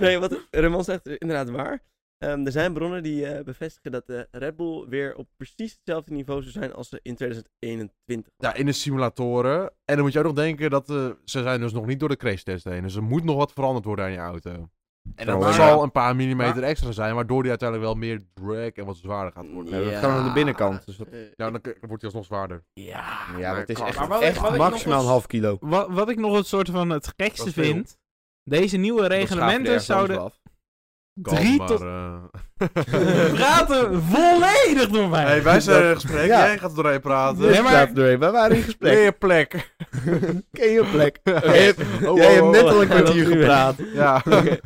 [SPEAKER 2] nee, wat Raymond zegt is inderdaad waar. Ehm, er zijn bronnen die eh, bevestigen dat de Red Bull weer op precies hetzelfde niveau zou zijn als ze in 2021.
[SPEAKER 3] Ja, in de simulatoren. En dan moet je ook nog denken dat eh, ze zijn dus nog niet door de crash test heen. Dus er moet nog wat veranderd worden aan je auto. En dat
[SPEAKER 1] Maar-
[SPEAKER 3] zal een paar millimeter
[SPEAKER 4] maar-
[SPEAKER 3] extra zijn, waardoor die uiteindelijk wel meer drag en wat zwaarder gaat worden.
[SPEAKER 1] Nee, dat gaat aan de binnenkant, dus dat-
[SPEAKER 2] Eh,
[SPEAKER 3] Nou, dan k- wordt hij alsnog zwaarder.
[SPEAKER 2] ja,
[SPEAKER 1] Ja,
[SPEAKER 2] maar
[SPEAKER 1] dat is
[SPEAKER 2] kom.
[SPEAKER 1] echt,
[SPEAKER 4] Maar wat ik-
[SPEAKER 1] echt
[SPEAKER 4] wat ik nog
[SPEAKER 1] maximaal
[SPEAKER 4] eens-
[SPEAKER 1] een half kilo.
[SPEAKER 4] Wat, wat ik nog het soort van het
[SPEAKER 3] Dat
[SPEAKER 4] gekste
[SPEAKER 3] is veel.
[SPEAKER 4] vind. Deze nieuwe
[SPEAKER 1] Dat schaaf je ergens
[SPEAKER 4] reglementen
[SPEAKER 1] anders
[SPEAKER 4] zouden
[SPEAKER 1] wel af.
[SPEAKER 3] Kalm,
[SPEAKER 4] drie
[SPEAKER 3] maar,
[SPEAKER 4] tot...
[SPEAKER 3] eh.
[SPEAKER 4] We praten volledig door mij.
[SPEAKER 3] hey, wij zijn
[SPEAKER 1] Dat-
[SPEAKER 3] in een gesprek,
[SPEAKER 1] Ja.
[SPEAKER 3] jij gaat er doorheen praten.
[SPEAKER 4] Nee,
[SPEAKER 1] Dus
[SPEAKER 4] maar-
[SPEAKER 1] daar doorheen. We waren in gesprek.
[SPEAKER 3] Leer plek.
[SPEAKER 1] Ken je plek?
[SPEAKER 3] Oké.
[SPEAKER 1] Jij hebt,
[SPEAKER 3] Oh,
[SPEAKER 1] jij
[SPEAKER 3] oh,
[SPEAKER 1] hebt
[SPEAKER 3] oh,
[SPEAKER 1] net
[SPEAKER 3] oh.
[SPEAKER 1] al een kwartier
[SPEAKER 2] Loopt u weg.
[SPEAKER 1] gepraat.
[SPEAKER 3] Ja.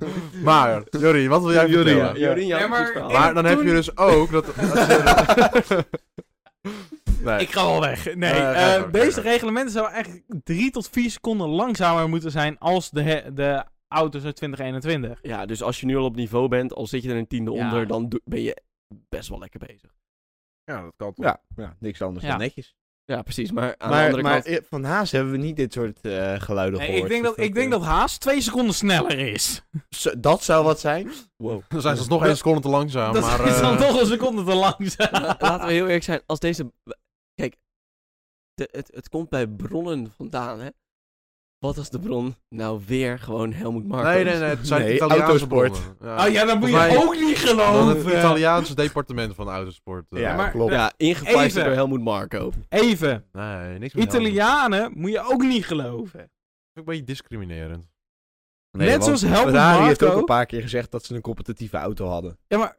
[SPEAKER 3] maar, Jorrie, wat wil jij
[SPEAKER 1] Jorrie,
[SPEAKER 3] vertellen?
[SPEAKER 1] ja.
[SPEAKER 2] Jorien,
[SPEAKER 4] Ja,
[SPEAKER 2] jouw
[SPEAKER 4] maar-
[SPEAKER 2] verhaal.
[SPEAKER 3] Maar dan heb je
[SPEAKER 4] Toen-
[SPEAKER 3] dus ook dat... als je- nee.
[SPEAKER 4] Ik ga wel weg. Nee,
[SPEAKER 3] Eh,
[SPEAKER 4] eh,
[SPEAKER 3] ga door, ga
[SPEAKER 4] deze
[SPEAKER 3] door.
[SPEAKER 4] reglementen zouden eigenlijk drie tot vier seconden langzamer moeten zijn als de, he- de auto's uit 2021.
[SPEAKER 2] Ja, dus als je nu al op niveau bent, al zit je er een tiende
[SPEAKER 4] Ja.
[SPEAKER 2] onder, dan doe- ben je best wel lekker bezig.
[SPEAKER 3] Ja, dat kan toch.
[SPEAKER 1] Ja, ja, niks anders
[SPEAKER 4] Ja.
[SPEAKER 1] dan netjes.
[SPEAKER 2] Ja, precies. Maar aan de
[SPEAKER 1] Maar,
[SPEAKER 2] andere
[SPEAKER 1] maar
[SPEAKER 2] kant...
[SPEAKER 1] eh, van Haas hebben we niet dit soort eh, geluiden
[SPEAKER 4] Nee,
[SPEAKER 1] gehoord.
[SPEAKER 4] ik denk
[SPEAKER 1] Dus
[SPEAKER 4] dat, ik denk
[SPEAKER 1] eh,
[SPEAKER 4] dat Haas twee seconden sneller is.
[SPEAKER 1] zo- dat zou wat zijn.
[SPEAKER 2] Wow.
[SPEAKER 3] Dan zijn ze nog één seconde te langzaam,
[SPEAKER 4] dat
[SPEAKER 3] maar...
[SPEAKER 4] is dan
[SPEAKER 3] eh,
[SPEAKER 4] toch een seconde te langzaam.
[SPEAKER 2] Laten we heel eerlijk zijn, als deze... Kijk, de- het, het komt bij bronnen vandaan, hè. Wat als de bron nou weer gewoon Helmut Marko
[SPEAKER 3] Nee,
[SPEAKER 2] is?
[SPEAKER 3] nee, nee, het zijn
[SPEAKER 1] Nee,
[SPEAKER 3] Italiaanse
[SPEAKER 1] autosport.
[SPEAKER 3] bronnen. Ja.
[SPEAKER 4] Oh ja, dan moet je
[SPEAKER 3] Volgens mij-
[SPEAKER 4] ook niet
[SPEAKER 3] Dan het
[SPEAKER 4] geloven.
[SPEAKER 3] Italiaanse departement van autosport. eh.
[SPEAKER 1] Ja,
[SPEAKER 4] eh. maar-
[SPEAKER 1] klopt.
[SPEAKER 2] Ja, ingepleisterd
[SPEAKER 4] Even.
[SPEAKER 2] door Helmut Marko.
[SPEAKER 4] Even,
[SPEAKER 3] Nee, niks met helmen.
[SPEAKER 4] Italianen moet je ook niet geloven.
[SPEAKER 3] Ook een beetje discriminerend.
[SPEAKER 1] Nee, want
[SPEAKER 4] Net zoals Helmut
[SPEAKER 1] Ferrari heeft ook
[SPEAKER 4] Marko.
[SPEAKER 1] een paar keer gezegd dat ze een competitieve auto hadden.
[SPEAKER 4] Ja, maar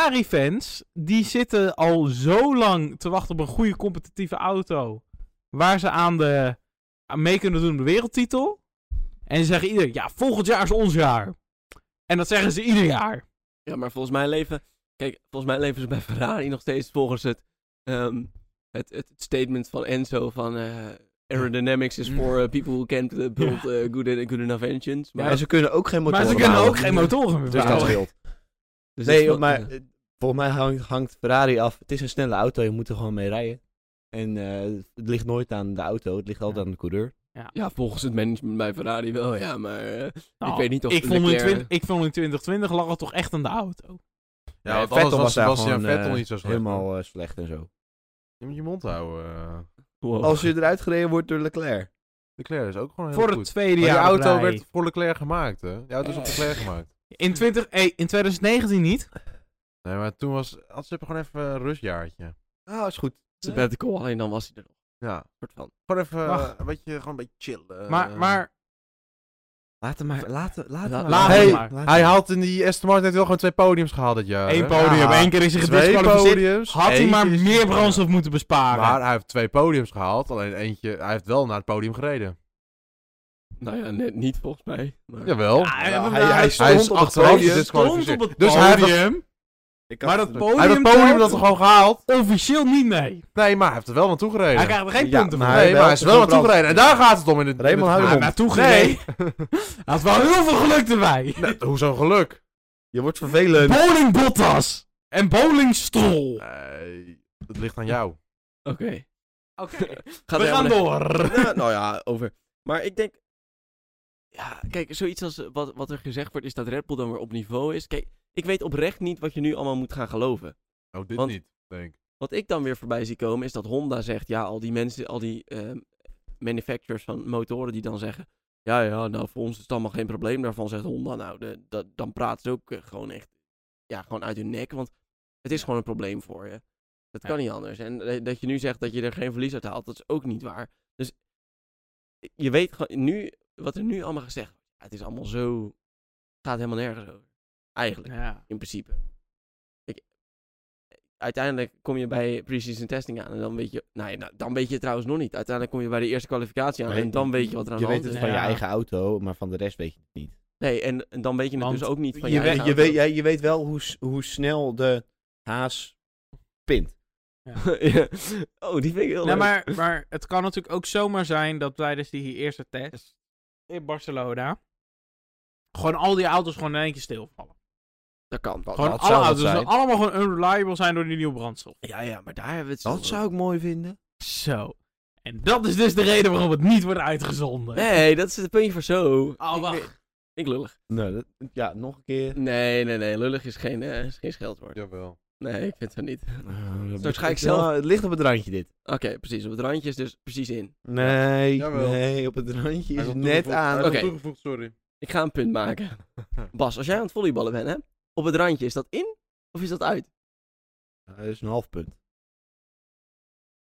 [SPEAKER 4] Ferrari-fans, die zitten al zo lang te wachten op een goede competitieve auto. Waar ze aan de, aan mee kunnen doen op de wereldtitel. En ze zeggen ieder ja, volgend jaar is ons jaar. En dat zeggen ze ieder jaar.
[SPEAKER 2] Ja, maar volgens mij leven... Kijk, volgens mij leven ze bij Ferrari nog steeds volgens het... ehm, het, het statement van Enzo van... eh, Aerodynamics is for eh, people who can't eh, build eh, good, good enough engines. Maar
[SPEAKER 1] Maar ze kunnen ook geen motor
[SPEAKER 4] maar ze kunnen ook geen motoren meer
[SPEAKER 1] Dus dat
[SPEAKER 4] bouwen.
[SPEAKER 1] scheelt.
[SPEAKER 2] dus dat is
[SPEAKER 1] Nee,
[SPEAKER 2] wel-
[SPEAKER 1] maar eh, volgens mij hangt, hangt Ferrari af. Het is een snelle auto, je moet er gewoon mee rijden. En eh, het ligt nooit aan de auto, het ligt altijd
[SPEAKER 4] Ja.
[SPEAKER 1] aan de coureur.
[SPEAKER 2] Ja, volgens het management bij Ferrari wel, ja, maar... eh,
[SPEAKER 4] Nou,
[SPEAKER 2] ik weet niet of
[SPEAKER 4] ik vond, in
[SPEAKER 2] Leclerc-
[SPEAKER 4] 20, ik vond in 2020 lag het toch echt aan de auto.
[SPEAKER 3] Ja,
[SPEAKER 1] Nee,
[SPEAKER 3] want anders was
[SPEAKER 1] daar
[SPEAKER 3] Sebastian
[SPEAKER 1] gewoon,
[SPEAKER 3] Vettel
[SPEAKER 1] eh,
[SPEAKER 3] niet zo slecht.
[SPEAKER 1] Helemaal eh, slecht en zo. Oh.
[SPEAKER 3] Je moet je mond houden. eh.
[SPEAKER 2] Wow.
[SPEAKER 1] Als je eruit gereden wordt door Leclerc.
[SPEAKER 3] Leclerc is ook gewoon heel
[SPEAKER 4] Voor het
[SPEAKER 3] goed.
[SPEAKER 4] tweede
[SPEAKER 3] Maar die
[SPEAKER 4] jaar. op
[SPEAKER 3] auto
[SPEAKER 4] rij.
[SPEAKER 3] werd voor Leclerc gemaakt, hè? Die
[SPEAKER 4] Eh.
[SPEAKER 3] auto is op Leclerc gemaakt.
[SPEAKER 4] in, 20, eh, in 2019 niet.
[SPEAKER 3] Nee, maar toen was... Had ze gewoon even een rustjaartje.
[SPEAKER 1] Ah, is goed.
[SPEAKER 2] sabbatical, alleen dan was hij er nog.
[SPEAKER 3] Ja.
[SPEAKER 2] Soort van.
[SPEAKER 3] Gewoon even...
[SPEAKER 4] Wacht.
[SPEAKER 3] eh, Een beetje, gewoon een beetje chillen.
[SPEAKER 4] Maar,
[SPEAKER 3] eh.
[SPEAKER 4] maar
[SPEAKER 1] Laat hem maar, laat, hem- laat, hem
[SPEAKER 2] Laat-
[SPEAKER 1] maar.
[SPEAKER 4] laat hem
[SPEAKER 1] Hey,
[SPEAKER 4] maar.
[SPEAKER 1] laat
[SPEAKER 3] Hij
[SPEAKER 1] hem.
[SPEAKER 3] haalt in die Aston Martin heeft wel gewoon twee podiums gehaald dit jaar.
[SPEAKER 4] één
[SPEAKER 3] hè?
[SPEAKER 4] podium,
[SPEAKER 1] Ja.
[SPEAKER 4] één keer is hij
[SPEAKER 3] Twee
[SPEAKER 4] gedisqualificeerd.
[SPEAKER 3] podiums.
[SPEAKER 4] Had hij
[SPEAKER 3] Eén
[SPEAKER 4] maar
[SPEAKER 3] is-
[SPEAKER 4] meer brandstof moeten besparen.
[SPEAKER 3] Maar hij heeft twee podiums gehaald. Alleen eentje... Hij heeft wel naar het podium gereden.
[SPEAKER 2] Nou ja, net niet volgens mij. Maar...
[SPEAKER 3] Jawel.
[SPEAKER 4] Ja, hij,
[SPEAKER 1] Ja,
[SPEAKER 4] hij,
[SPEAKER 1] hij- hij stond
[SPEAKER 4] stond,
[SPEAKER 3] is
[SPEAKER 1] op het
[SPEAKER 3] achteraf
[SPEAKER 1] podium.
[SPEAKER 3] gedisqualificeerd.
[SPEAKER 4] op het
[SPEAKER 3] Dus hij heeft dat-
[SPEAKER 4] podium,
[SPEAKER 1] Ik had-
[SPEAKER 4] maar dat podium,
[SPEAKER 3] Hij heeft dat podium dat
[SPEAKER 4] telt
[SPEAKER 3] er gewoon gehaald.
[SPEAKER 4] officieel niet mee.
[SPEAKER 3] Nee, maar hij heeft er wel naartoe gereden.
[SPEAKER 4] Hij krijgt er geen
[SPEAKER 1] Ja,
[SPEAKER 4] punten
[SPEAKER 1] maar
[SPEAKER 4] voor.
[SPEAKER 1] hij-
[SPEAKER 3] nee, maar hij is
[SPEAKER 1] wel
[SPEAKER 3] wel naartoe
[SPEAKER 1] gebrand.
[SPEAKER 3] gereden. En daar gaat het om in het...
[SPEAKER 1] Raymond,
[SPEAKER 3] in
[SPEAKER 1] hou
[SPEAKER 3] het
[SPEAKER 1] je
[SPEAKER 4] Hij
[SPEAKER 3] verhaal.
[SPEAKER 4] heeft
[SPEAKER 1] mond.
[SPEAKER 4] naartoe
[SPEAKER 3] Nee.
[SPEAKER 4] gereden. Hij had wel heel veel geluk erbij.
[SPEAKER 3] Nee, Hoezo geluk?
[SPEAKER 1] Je wordt vervelend.
[SPEAKER 4] Bowling Bottas en Bowling Strol.
[SPEAKER 3] Nee, het ligt aan jou.
[SPEAKER 2] Oké.
[SPEAKER 4] Oké,
[SPEAKER 2] Gaat
[SPEAKER 4] we
[SPEAKER 2] helemaal
[SPEAKER 4] gaan
[SPEAKER 2] nergens-
[SPEAKER 4] door.
[SPEAKER 2] Nou, nou ja, over. Maar ik denk. Ja, kijk, zoiets als eh, wat, wat er gezegd wordt, is dat Red Bull dan weer op niveau is. Kijk, ik weet oprecht niet wat je nu allemaal moet gaan geloven.
[SPEAKER 3] Oh, dit
[SPEAKER 2] Want-
[SPEAKER 3] niet, denk ik.
[SPEAKER 2] Wat ik dan weer voorbij zie komen, is dat Honda zegt: ja, al die mensen, al die ehm, manufacturers van motoren, die dan zeggen: ja, ja, nou voor ons is het allemaal geen probleem. Daarvan zegt Honda: nou, de, dat, dan praten ze ook eh, gewoon echt ja, gewoon uit hun nek. Want het is gewoon een probleem voor je. Dat kan
[SPEAKER 4] Ja.
[SPEAKER 2] niet anders. En eh, dat je nu zegt dat je er geen verlies uit haalt, dat is ook niet waar. Dus je weet gewoon nu, wat er nu allemaal gezegd wordt. Het is allemaal zo. Het gaat helemaal nergens over. Eigenlijk,
[SPEAKER 4] Ja.
[SPEAKER 2] in principe. Ik, uiteindelijk kom je bij pre-season testing aan en dan weet je. Nou, ja, nou, dan weet je het trouwens nog niet. Uiteindelijk kom je bij de eerste kwalificatie aan
[SPEAKER 1] Nee,
[SPEAKER 2] en dan weet je wat er aan
[SPEAKER 1] Je
[SPEAKER 2] de
[SPEAKER 1] weet
[SPEAKER 2] hand
[SPEAKER 1] het
[SPEAKER 2] is.
[SPEAKER 1] van je
[SPEAKER 4] Ja.
[SPEAKER 1] eigen auto, maar van de rest weet je het niet.
[SPEAKER 2] Nee, en, en dan weet je het
[SPEAKER 4] Want
[SPEAKER 2] dus ook niet van je,
[SPEAKER 1] je, weet,
[SPEAKER 2] eigen
[SPEAKER 1] je, weet,
[SPEAKER 2] auto.
[SPEAKER 1] ja, je weet wel hoe, s- hoe snel de haas pint.
[SPEAKER 2] Ja. Oh, die vind ik heel leuk.
[SPEAKER 4] Nee, maar, maar het kan natuurlijk ook zomaar zijn dat tijdens die eerste test in Barcelona gewoon al die auto's gewoon in één keer stilvallen.
[SPEAKER 2] Dat kan.
[SPEAKER 4] Gewoon
[SPEAKER 1] Oh, dat
[SPEAKER 4] alle
[SPEAKER 1] zou wat
[SPEAKER 4] auto's zullen
[SPEAKER 1] zijn.
[SPEAKER 4] allemaal gewoon unreliable zijn door die nieuwe brandstof.
[SPEAKER 2] Ja, ja, maar daar hebben we het zo
[SPEAKER 1] Dat
[SPEAKER 2] over.
[SPEAKER 1] zou ik mooi vinden.
[SPEAKER 4] Zo. En dat is dus de reden waarom het niet wordt uitgezonden.
[SPEAKER 2] Nee, dat is het puntje voor zo.
[SPEAKER 4] Oh, wacht.
[SPEAKER 2] Ik lullig.
[SPEAKER 1] Nee, Nou, dat- ja, nog een keer.
[SPEAKER 2] Nee, nee, nee. Lullig is geen, eh, is geen scheldwoord.
[SPEAKER 3] Jawel.
[SPEAKER 2] Nee, ik vind het niet. Oké,
[SPEAKER 1] Nou,
[SPEAKER 2] Zo ga ik
[SPEAKER 1] betekent
[SPEAKER 2] zelf-
[SPEAKER 1] wel, Het ligt op het randje dit.
[SPEAKER 2] precies. Op het randje is dus precies in.
[SPEAKER 1] Nee,
[SPEAKER 3] Jawel.
[SPEAKER 1] nee, op het randje
[SPEAKER 3] Hij
[SPEAKER 1] is
[SPEAKER 3] is al
[SPEAKER 1] het net
[SPEAKER 3] toegevoegd. Hij
[SPEAKER 1] aan.
[SPEAKER 3] is al
[SPEAKER 2] Oké.
[SPEAKER 3] toegevoegd, sorry.
[SPEAKER 2] Ik ga een punt maken. Bas, als jij aan het volleyballen bent, hè? Op het randje, is dat in of is dat uit?
[SPEAKER 1] Ja, Dat is een half punt.